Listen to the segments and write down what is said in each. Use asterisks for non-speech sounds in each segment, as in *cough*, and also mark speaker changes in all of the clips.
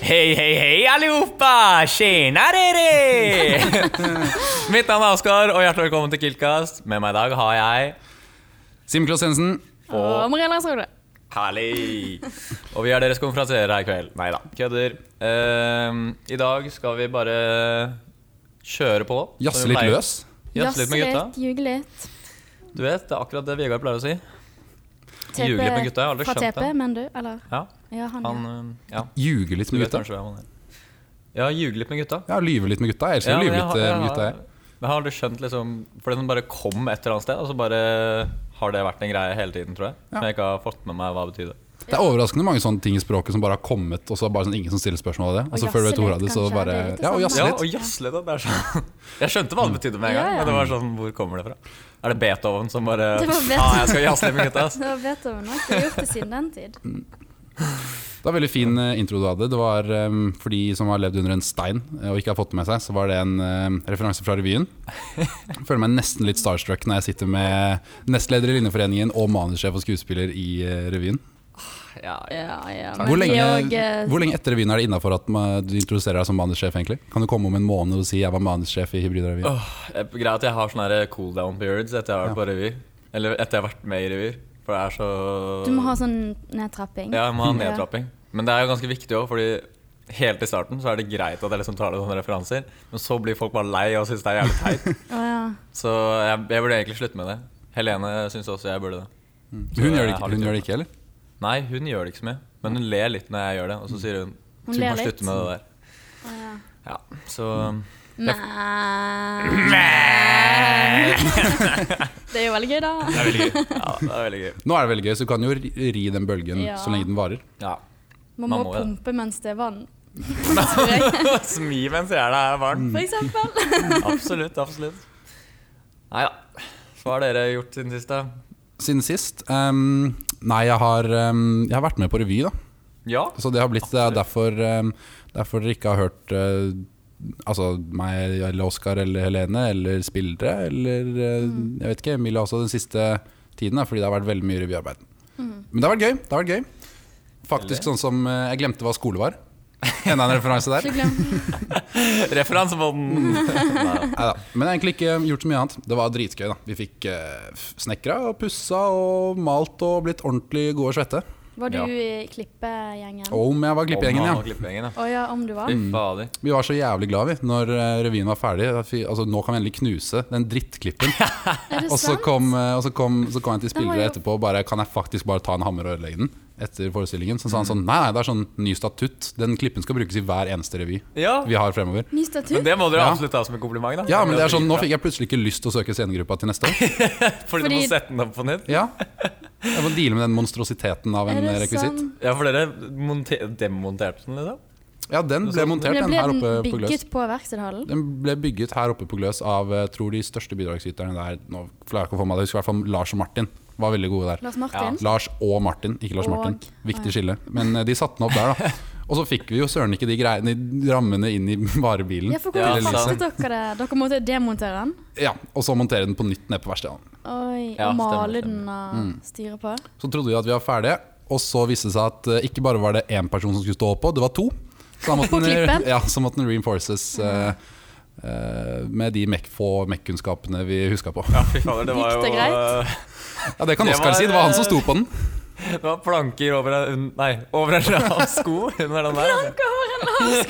Speaker 1: Hej, hej, hej allihopa! Tjenare! re! *laughs* Mitt navn er Oskar, og hjertelig velkommen til Kiltcast. Med meg i dag har jeg
Speaker 2: Simen Kloss Jensen.
Speaker 1: og
Speaker 3: Og Maria Landsrode.
Speaker 1: Herlig! Og vi er deres konferansierer her i kveld. Nei da, kødder. Ehm, I dag skal vi bare kjøre på. som vi
Speaker 2: Jazze litt
Speaker 1: pleier.
Speaker 2: løs.
Speaker 1: Jazze litt med gutta.
Speaker 3: Ljuge litt.
Speaker 1: Du vet, det er akkurat det Vegard pleier å si. Ljuge litt med gutta, jeg har aldri
Speaker 3: fra
Speaker 1: skjønt
Speaker 3: TP,
Speaker 1: det.
Speaker 3: men du, eller?
Speaker 1: Ja,
Speaker 3: Ja, han,
Speaker 1: han,
Speaker 3: ja.
Speaker 1: eh,
Speaker 3: *laughs*
Speaker 1: ja.
Speaker 2: Ljuge litt
Speaker 1: Du
Speaker 2: med
Speaker 1: vet
Speaker 2: gutta.
Speaker 1: kanskje hvem han er. Ja, ljuge litt med gutta.
Speaker 2: Ja, lyve litt med gutta. Jeg elsker å
Speaker 1: men
Speaker 2: lyve
Speaker 1: jeg har-
Speaker 2: litt eh,
Speaker 1: jeg
Speaker 2: med gutta. jeg.
Speaker 1: har- Jeg har aldri skjønt liksom For den bare kom et eller annet sted, og så bare har det vært en greie hele tiden, tror jeg.
Speaker 2: Ja.
Speaker 1: Som jeg ikke har fått med meg hva det betydde.
Speaker 2: Det er overraskende mange sånne ting i språket som bare har kommet, og så er det bare sånn ingen som stiller spørsmål av det. Og så
Speaker 3: Og
Speaker 2: før du vet
Speaker 3: jazze
Speaker 2: ordet av det,
Speaker 3: litt,
Speaker 2: så
Speaker 3: kanskje.
Speaker 2: bare
Speaker 3: Det er litt sånn? det
Speaker 2: Ja, og
Speaker 3: samme.
Speaker 2: jazze
Speaker 1: Ja,
Speaker 2: litt.
Speaker 1: og jazze litt. Det er sånn *laughs* Jeg skjønte hva det betydde med en gang,
Speaker 3: Ja, ja.
Speaker 1: men det var sånn Hvor kommer det fra? Er det Beethoven som bare
Speaker 3: Det var Beethoven.
Speaker 1: Ah, jeg skal jazze litt med gutta, ass.
Speaker 3: Det var Beethoven nok. Det har gjort det siden den tid.
Speaker 2: Det var veldig fin eh, intro du hadde. Det var eh, for de som har levd under en stein eh, og ikke har fått det med seg, så var det en eh, referanse fra
Speaker 1: *laughs*
Speaker 2: revyen. Jeg føler meg nesten litt starstruck når jeg sitter med nestleder i Linjeforeningen og manussjef og skuespiller i eh, revyen.
Speaker 1: *laughs* Ja, ja.
Speaker 3: Ja, ja. Men
Speaker 2: Hvor lenge,
Speaker 3: de og, eh,
Speaker 2: hvor lenge etter revyen er det innafor at man- du introduserer deg som manussjef, egentlig? Kan du komme om en måned og si 'jeg var manussjef i Hybridrevyen'?
Speaker 1: Åh, Greit at jeg har sånne her cool down periods etter jeg har vært på revy. Eller etter jeg har vært med i revyer. For det er så
Speaker 3: Du må ha sånn nedtrapping.
Speaker 1: Ja, jeg må ha
Speaker 3: Mm.
Speaker 1: nedtrapping. Men det er jo ganske viktig òg, fordi helt i starten så er det greit at jeg liksom tar det sånne referanser, men så blir folk bare lei og syns det er jævlig teit.
Speaker 3: Å, ja.
Speaker 1: Så jeg, jeg burde egentlig slutte med det. Helene syns også jeg burde det. Så
Speaker 2: Hun, gjør
Speaker 1: jeg
Speaker 2: det ikke,
Speaker 1: har
Speaker 2: hun
Speaker 1: litt-
Speaker 2: gjør det ikke, eller?
Speaker 1: Nei, hun gjør det ikke så mye. Men hun ler litt når jeg gjør det, og så sier hun
Speaker 3: Hun
Speaker 1: Du må
Speaker 3: ler litt.
Speaker 1: slutte med det der.
Speaker 3: Å, ja.
Speaker 1: Ja, så *laughs*
Speaker 3: Men Det er jo veldig gøy, da.
Speaker 1: *laughs* Det er veldig gøy. Ja, det er veldig gøy.
Speaker 2: Nå er det veldig gøy, så du kan jo ri ri den bølgen
Speaker 3: Ja.
Speaker 2: så lenge den varer.
Speaker 1: Ja.
Speaker 3: Man
Speaker 1: Man
Speaker 3: må
Speaker 1: må jo det.
Speaker 3: pumpe mens det er vann,
Speaker 1: *laughs* Smi mens hjernen er varm.
Speaker 3: for eksempel.
Speaker 1: Absolutt, absolutt. Nei da. Hva har dere gjort siden sist, da?
Speaker 2: Siden sist ehm, Nei, jeg har, ehm, jeg har vært med på revy, da.
Speaker 1: Ja?
Speaker 2: Så det har blitt Det er derfor, ehm, derfor dere ikke har hørt eh, Altså meg eller Oskar eller Helene eller spillere eller eh, Jeg vet ikke, Emilie også den siste tiden, da, fordi det har vært veldig mye revyarbeid. Men det har vært gøy. Det har vært gøy. Faktisk sånn som eh, Jeg glemte hva skole var. Enda en referanse *laughs* der.
Speaker 3: Ikke glem.
Speaker 1: Referansebånden! Nei.
Speaker 2: Neida. Men jeg har egentlig ikke gjort så mye annet. Det var dritgøy. da Vi fikk eh, f- snekra og pussa og malt og blitt ordentlig gode og svette.
Speaker 3: Var du
Speaker 1: Ja.
Speaker 3: i klippegjengen? Å
Speaker 2: Om jeg var klippegjengen, ja.
Speaker 1: Klippegjengen, ja.
Speaker 3: ja, om du var?
Speaker 1: Fy fader.
Speaker 2: Vi var så jævlig glad vi når eh, revyen var ferdig. Da fi- Altså, nå kan vi endelig knuse den
Speaker 3: *laughs*
Speaker 2: drittklippen.
Speaker 3: Er
Speaker 2: Og
Speaker 3: det
Speaker 2: så
Speaker 3: sant?
Speaker 2: kom, eh, og så kom, så kom jeg til
Speaker 3: Den var
Speaker 2: spillere
Speaker 3: jo-
Speaker 2: etterpå og bare Kan jeg faktisk bare ta en hammer og ødelegge den? Etter forestillingen. Så sa
Speaker 3: Mm.
Speaker 2: han sånn Nei, nei, det er sånn ny statutt. Den klippen skal brukes i hver eneste revy
Speaker 1: Ja,
Speaker 2: vi har fremover.
Speaker 3: Ny statut?
Speaker 1: men det må dere
Speaker 2: Ja.
Speaker 1: absolutt ta som en kompliment. da
Speaker 2: Ja, men det er sånn, Nå fikk jeg plutselig ikke lyst til å søke scenegruppa til neste år.
Speaker 3: *laughs*
Speaker 1: Fordi du
Speaker 3: Fordi-
Speaker 1: må sette den opp på nytt?
Speaker 2: Ja. Jeg må deale med den monstrositeten av
Speaker 3: Er
Speaker 2: en
Speaker 3: det sånn-
Speaker 2: rekvisitt.
Speaker 3: sant?
Speaker 1: Ja, for dere monte- demonterte den, liksom?
Speaker 2: Ja, den ble montert
Speaker 3: Men
Speaker 2: den
Speaker 3: ble
Speaker 2: her oppe
Speaker 3: den
Speaker 2: på Gløs.
Speaker 3: bygget på verkstedhallen?
Speaker 2: Den ble bygget her oppe på Gløs av jeg tror de største bidragsyterne der. Nå klarer jeg ikke å få meg det, jeg husker i hvert fall Lars og Martin var veldig gode der.
Speaker 3: Lars Martin?
Speaker 2: Lars og Martin, ikke Lars
Speaker 3: Og-
Speaker 2: Martin. Viktig skille. Men eh, de satte den opp der,
Speaker 3: *laughs*
Speaker 2: da. Og så fikk vi jo søren ikke de, greiene, de rammene inn i *laughs* varebilen.
Speaker 3: Ja, for
Speaker 1: Ja,
Speaker 3: hvordan
Speaker 1: sant.
Speaker 3: fastet dere det? Dere måtte demontere den?
Speaker 2: Ja, Og så montere den på nytt nede på verkstedet.
Speaker 3: Oi,
Speaker 1: Ja,
Speaker 3: og male
Speaker 1: stemmer,
Speaker 3: den og
Speaker 2: Mm.
Speaker 3: styre på?
Speaker 2: Så trodde vi at vi var ferdige, og så viste det seg at eh, ikke bare var det én person som skulle stå på, det var to. Så
Speaker 3: *laughs*
Speaker 2: da måtte eh,
Speaker 3: På klippen?
Speaker 2: ja, så måtte den reinforces eh, eh, med de mek få MEC-kunnskapene vi huska på.
Speaker 1: Ja, fy fader, det var
Speaker 3: Gikk
Speaker 1: jo
Speaker 3: det greit?
Speaker 1: eh,
Speaker 2: Ja, Det kan
Speaker 1: Det
Speaker 2: Oskar
Speaker 1: var, eh,
Speaker 2: si, det var han som sto på den.
Speaker 1: Det var planker over en un- Nei, over en lav sko under den der. altså.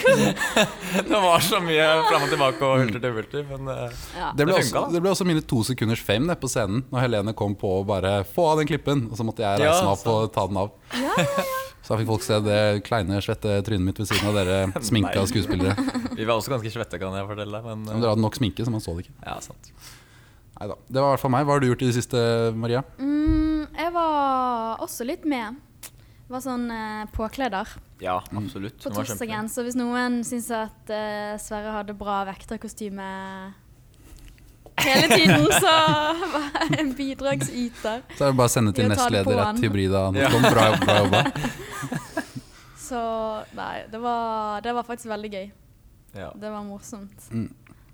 Speaker 1: Det var så mye fram og tilbake og hulter til bulter, men eh,
Speaker 3: Ja.
Speaker 2: Det ble,
Speaker 1: det funka,
Speaker 2: også,
Speaker 1: da.
Speaker 2: det ble også mine to sekunders fame ned på scenen når Helene kom på å bare få av den klippen. Og så måtte jeg
Speaker 1: Ja,
Speaker 2: reise meg opp og ta den av. *laughs* Så da fikk folk se det kleine, svette trynet mitt ved siden av
Speaker 1: *laughs*
Speaker 2: dere sminka
Speaker 1: Nei. *laughs*
Speaker 2: skuespillere.
Speaker 1: vi var også ganske svette, kan jeg fortelle deg. Men
Speaker 2: Men
Speaker 1: eh,
Speaker 2: dere hadde nok sminke, så man så det ikke.
Speaker 1: ja, sant.
Speaker 2: Neida. Det var i hvert fall meg. Hva har du gjort i det siste, Maria?
Speaker 3: *laughs* Mm, jeg var også litt med. Var sånn eh, påkleder
Speaker 1: Ja,
Speaker 2: Mm.
Speaker 1: absolutt.
Speaker 3: på
Speaker 1: Den var kjempefin.
Speaker 3: torsdagen. Så hvis noen syns at eh, Sverre hadde bra vekterkostyme hele
Speaker 1: *laughs*
Speaker 3: tiden, så var jeg en bidragsyter.
Speaker 2: Så er det bare å sende til
Speaker 3: Vi tar det på
Speaker 2: nestleder at
Speaker 3: han.
Speaker 2: hybrida
Speaker 1: Ja.
Speaker 2: kom. Bra, jobb- bra
Speaker 3: *laughs*
Speaker 2: jobba.
Speaker 3: Så nei, det var, det var faktisk veldig gøy.
Speaker 1: Ja.
Speaker 3: Det var morsomt
Speaker 2: Mm.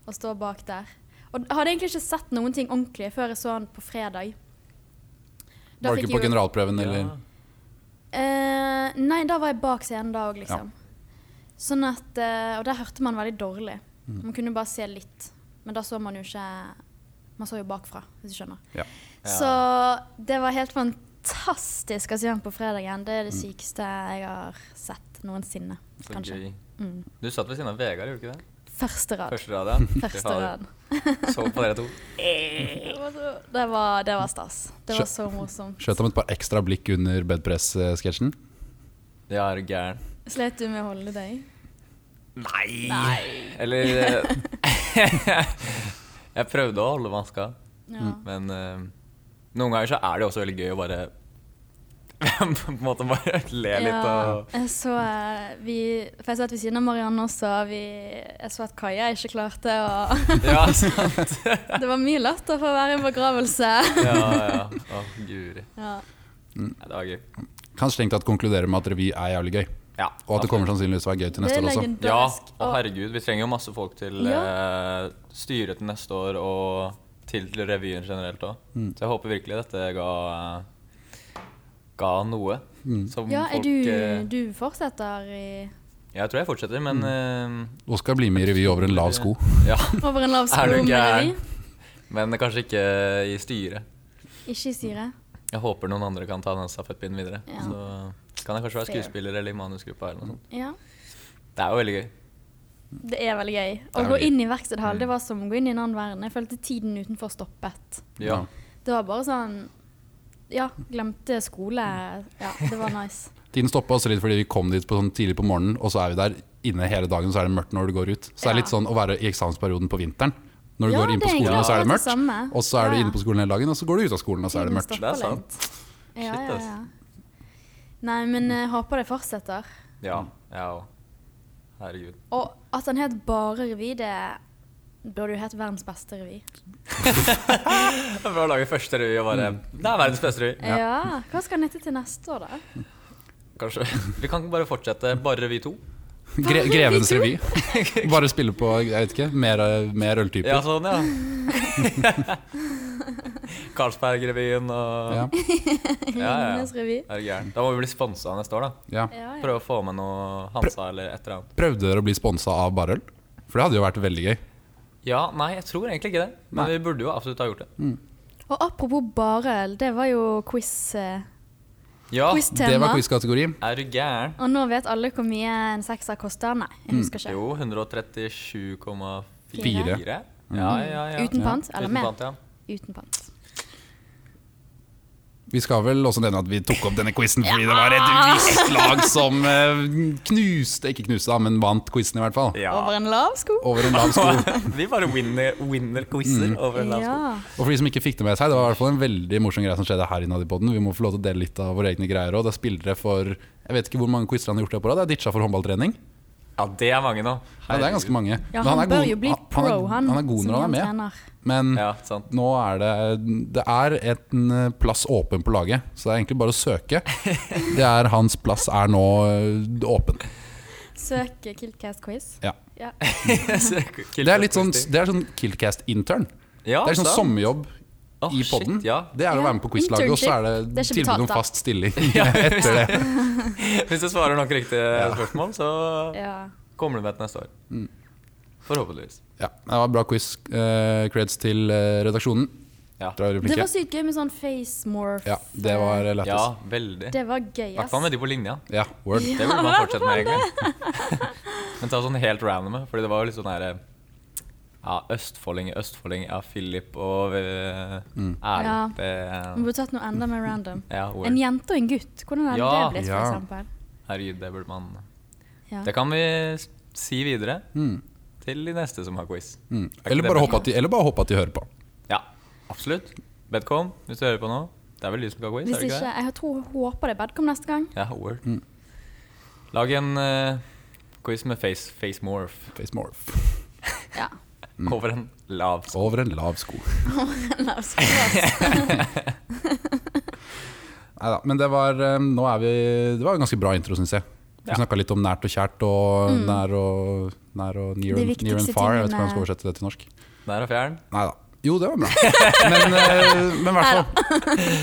Speaker 3: å stå bak der. Og jeg hadde egentlig ikke sett noen ting ordentlig før jeg så han på fredag. Da
Speaker 2: Var du
Speaker 3: fikk
Speaker 2: ikke på
Speaker 3: jeg jo-
Speaker 2: generalprøven, eller?
Speaker 1: Ja.
Speaker 3: Eh, nei, da var jeg bak scenen da òg, liksom. Sånn at, eh, og der hørte man veldig dårlig.
Speaker 2: Mm.
Speaker 3: Man kunne bare se litt. Men da så man jo ikke Man så jo bakfra, hvis du skjønner.
Speaker 2: Ja.
Speaker 3: Så det var helt fantastisk å se ham på fredagen. Det er
Speaker 2: Mm.
Speaker 3: det sykeste jeg har sett noensinne.
Speaker 1: Så
Speaker 3: Kanskje.
Speaker 1: gøy.
Speaker 3: Mm.
Speaker 1: Du satt ved siden av Vegard, gjorde du ikke det?
Speaker 3: Første rad.
Speaker 1: Første rad, ja.
Speaker 3: Første rad.
Speaker 1: Så på dere to.
Speaker 3: Det var, så- det var, det var stas. Det var så morsomt.
Speaker 2: Skjøt ham et par ekstra blikk under bedpress-sketsjen.
Speaker 1: Ja, er du gæren?
Speaker 3: Slet du med å holde deg?
Speaker 1: Nei!
Speaker 3: *laughs*
Speaker 1: Eller eh, *laughs* Jeg prøvde å holde maska,
Speaker 3: Ja.
Speaker 1: men eh, noen ganger så er det også veldig gøy å bare *laughs* På en måte bare le litt
Speaker 3: Ja,
Speaker 1: og
Speaker 3: jeg så eh, vi, For jeg satt ved siden av Marianne også. Vi, jeg så at Kaja ikke klarte å *laughs*
Speaker 1: Ja, *laughs* sant?
Speaker 3: Det var mye latter for å være en begravelse.
Speaker 1: Ja, ja. Å, guri.
Speaker 3: Ja.
Speaker 1: Nei, det var gøy.
Speaker 2: Kanskje tenkt at konkludere med at revy er jævlig gøy.
Speaker 1: Ja,
Speaker 2: Og at det kommer sannsynligvis til å være gøy til neste år også.
Speaker 1: Ja,
Speaker 3: legendarisk.
Speaker 1: og herregud, vi trenger jo masse folk til eh, styret til neste år og til til revyen generelt òg.
Speaker 2: Mm.
Speaker 1: Så jeg håper virkelig dette ga eh, ga noe
Speaker 2: Mm.
Speaker 1: som
Speaker 3: *laughs* ja, er
Speaker 1: folk
Speaker 3: du,
Speaker 1: eh,
Speaker 3: du fortsetter i
Speaker 1: Jeg tror jeg fortsetter, men
Speaker 2: Oskar blir med i revy over en lav sko.
Speaker 1: eh, Ja, *laughs*
Speaker 3: Over en lav sko
Speaker 1: Er du
Speaker 3: med
Speaker 1: gæren?
Speaker 3: revy?
Speaker 1: men kanskje ikke i styret.
Speaker 3: Ikke i styret?
Speaker 1: Jeg håper noen andre kan ta den stafettpinnen videre.
Speaker 3: Ja.
Speaker 1: Så kan jeg kanskje være
Speaker 3: Fair.
Speaker 1: skuespiller eller i manusgruppa eller noe sånt.
Speaker 3: Ja.
Speaker 1: Det er jo veldig gøy.
Speaker 3: Det er veldig gøy. Å
Speaker 2: Det er veldig
Speaker 3: gå
Speaker 2: gøy.
Speaker 3: inn i verkstedhall, det
Speaker 1: Mm.
Speaker 3: var som å gå inn i en annen verden. Jeg følte tiden utenfor stoppet.
Speaker 1: Ja.
Speaker 2: Ja.
Speaker 3: Det var bare sånn Ja, glemte skole. Ja, det var nice.
Speaker 2: Tiden stoppa også litt fordi vi kom dit på sånn tidlig på morgenen, og så er vi der inne hele dagen, så er det mørkt når du går ut. Så det er
Speaker 3: Ja.
Speaker 2: litt sånn å være i eksamensperioden på vinteren. *laughs* Når du
Speaker 3: Ja,
Speaker 2: går inn på
Speaker 3: det er
Speaker 2: skolen,
Speaker 3: egentlig
Speaker 2: og så er det
Speaker 3: akkurat det
Speaker 2: mørkt.
Speaker 3: samme.
Speaker 2: Og så er du
Speaker 3: Ja, ja.
Speaker 2: inne på skolen hele dagen, og så går du ut av skolen, og så er det
Speaker 3: Tiden
Speaker 2: mørkt.
Speaker 3: stopper
Speaker 1: Det er
Speaker 3: litt. Ja,
Speaker 1: Shit,
Speaker 3: ja,
Speaker 1: ass.
Speaker 3: ja. Nei, men jeg håper det fortsetter.
Speaker 1: Ja. Jeg òg. Herregud. *laughs*
Speaker 3: Og at han het bare revy, det burde jo hett verdens beste revy.
Speaker 1: Det er bra å lage første revy og bare Det er verdens beste revy.
Speaker 3: Ja. Hva skal han hete til neste år, da?
Speaker 1: Kanskje. *laughs* Vi kan bare fortsette. Bare vi to.
Speaker 2: Gre Grevens revy. *laughs* Bare spille på, jeg vet ikke, mer, eh, mer øltyper.
Speaker 1: Ja, sånn, ja. Karlsbergrevyen og
Speaker 2: Ja.
Speaker 1: *laughs* ja,
Speaker 3: *laughs*
Speaker 1: ja.
Speaker 3: Ringenes revy.
Speaker 1: Er du gæren? Da må vi bli sponsa neste år, da.
Speaker 2: Ja.
Speaker 3: Ja, ja.
Speaker 1: Prøve å få med noe Hansa eller et eller annet.
Speaker 2: Prøvde dere å bli sponsa av Barøl? For det hadde jo vært veldig gøy.
Speaker 1: Ja, nei, jeg tror egentlig ikke det. Men
Speaker 2: Nei.
Speaker 1: vi burde jo absolutt ha gjort det.
Speaker 3: Og apropos barøl, det var jo quiz, eh,
Speaker 1: Ja,
Speaker 2: Det var
Speaker 3: quiz-tema.
Speaker 2: quizkategori.
Speaker 1: er du gæren?
Speaker 3: Og nå vet alle hvor mye en sekser koster. Nei, jeg husker ikke.
Speaker 1: Mm. Jo, 137,4.
Speaker 3: Fire.
Speaker 1: Ja, ja,
Speaker 2: Mm.
Speaker 1: ja.
Speaker 3: Uten pant, eller
Speaker 1: Uten
Speaker 3: med?
Speaker 1: pant, ja.
Speaker 3: Uten pant.
Speaker 2: Vi skal vel også nevne at vi tok opp denne quizen fordi det var et visst lag som eh, knuste, ikke knuste, da, men vant quizen i hvert fall.
Speaker 3: Over en lav sko.
Speaker 2: Over en *laughs* lav sko.
Speaker 1: vi bare winner, winner quizer over en lav sko.
Speaker 3: Ja.
Speaker 2: Og for de som ikke fikk det med seg, det var i hvert fall en veldig morsom greie som skjedde her innad i podden. Vi må få lov til å dele litt av våre egne greier òg. Det er spillere for Jeg vet ikke hvor mange quizer han har gjort det på rad. Det er ditcha for håndballtrening.
Speaker 1: Ja, det er mange nå.
Speaker 2: Ja, det er ganske mange.
Speaker 3: ja,
Speaker 2: Men
Speaker 3: han,
Speaker 2: er
Speaker 3: bør
Speaker 2: god-
Speaker 3: jo bli
Speaker 2: han-
Speaker 3: pro,
Speaker 2: er-
Speaker 3: han.
Speaker 2: Han er god
Speaker 3: som
Speaker 2: når han er med.
Speaker 3: trener.
Speaker 2: Men
Speaker 1: Ja,
Speaker 2: *laughs*
Speaker 1: sant. *laughs*
Speaker 2: nå er det Det er en eh, plass åpen på laget, så det er egentlig bare å søke. Det er hans plass er nå eh, åpen.
Speaker 3: Søk eh, Kiltcast quiz.
Speaker 2: Ja.
Speaker 3: Ja.
Speaker 2: Det er litt sånn, det er sånn Kiltcast-intern.
Speaker 1: ja,
Speaker 2: Det er sånn sommerjobb
Speaker 1: Å, Ah,
Speaker 2: i
Speaker 1: shit,
Speaker 2: podden.
Speaker 1: ja.
Speaker 2: Det er å
Speaker 3: Ja,
Speaker 2: være med på quizlaget, og så er det
Speaker 3: internship. Det er ikke
Speaker 2: tilbud om
Speaker 3: betalt, da.
Speaker 2: fast
Speaker 1: *laughs*
Speaker 2: stilling *laughs* etter det.
Speaker 1: Hvis du svarer nok riktige spørsmål, så
Speaker 3: ja.
Speaker 1: kommer du med et neste år.
Speaker 2: Mm.
Speaker 1: Forhåpentligvis.
Speaker 2: Ja, det var bra quiz. Eh, creds til eh, redaksjonen.
Speaker 1: Ja.
Speaker 2: Dra i
Speaker 3: Det var
Speaker 2: replikket.
Speaker 3: sykt gøy med sånn face morph.
Speaker 2: Ja, det var eh,
Speaker 1: ja,
Speaker 2: lættis.
Speaker 1: veldig.
Speaker 3: Det var gøy,
Speaker 1: I
Speaker 3: ass.
Speaker 1: hvert fall med de på linja.
Speaker 2: Ja, word.
Speaker 1: Det burde man fortsette med, egentlig. *laughs* Men ta sånn helt random, fordi det var jo litt sånn her eh, ja, Østfolding, Østfolding, ja, Philip og eh,
Speaker 3: Ja.
Speaker 1: Erlend.
Speaker 3: Vi
Speaker 1: Det-
Speaker 3: burde tatt noe enda mer random.
Speaker 1: Ja,
Speaker 3: En
Speaker 1: word.
Speaker 3: jente og en gutt, hvordan hadde
Speaker 1: Ja.
Speaker 3: det blitt, for
Speaker 2: Ja.
Speaker 3: eksempel?
Speaker 1: Herregud, det burde man
Speaker 3: Ja.
Speaker 1: Det kan vi s- si videre
Speaker 2: Mm.
Speaker 1: til de neste som har quiz.
Speaker 2: Mm.
Speaker 1: Er ikke
Speaker 2: Eller,
Speaker 1: det
Speaker 2: bare
Speaker 1: bra?
Speaker 2: håpe at de, eller bare håpe at de hører på.
Speaker 1: Ja, absolutt. Bedcom, hvis du hører på nå. Det er vel du som skal ha quiz?
Speaker 3: Hvis
Speaker 1: er det
Speaker 3: ikke,
Speaker 1: det?
Speaker 3: jeg tror håper det er Badcom neste gang.
Speaker 1: Ja, word. Lag en eh, quiz med face, face morph
Speaker 2: Face morph.
Speaker 3: *laughs* Ja.
Speaker 1: over en lav sko.
Speaker 2: Over en lav sko.
Speaker 3: La
Speaker 1: *laughs*
Speaker 3: oss gå, ass.
Speaker 2: Neida, men det var, eh, nå er vi, det var en ganske bra intro, syns jeg. Vi
Speaker 1: Ja.
Speaker 2: snakka litt om nært og kjært og nær og, nær og near,
Speaker 3: Mm. De
Speaker 2: and, near and
Speaker 3: viktigste
Speaker 2: far. Jeg vet ikke hvordan
Speaker 3: tingene.
Speaker 2: jeg skal oversette det til norsk.
Speaker 1: Nær og fjern.
Speaker 2: Nei da. Jo, det var bra. Men, eh, men i hvert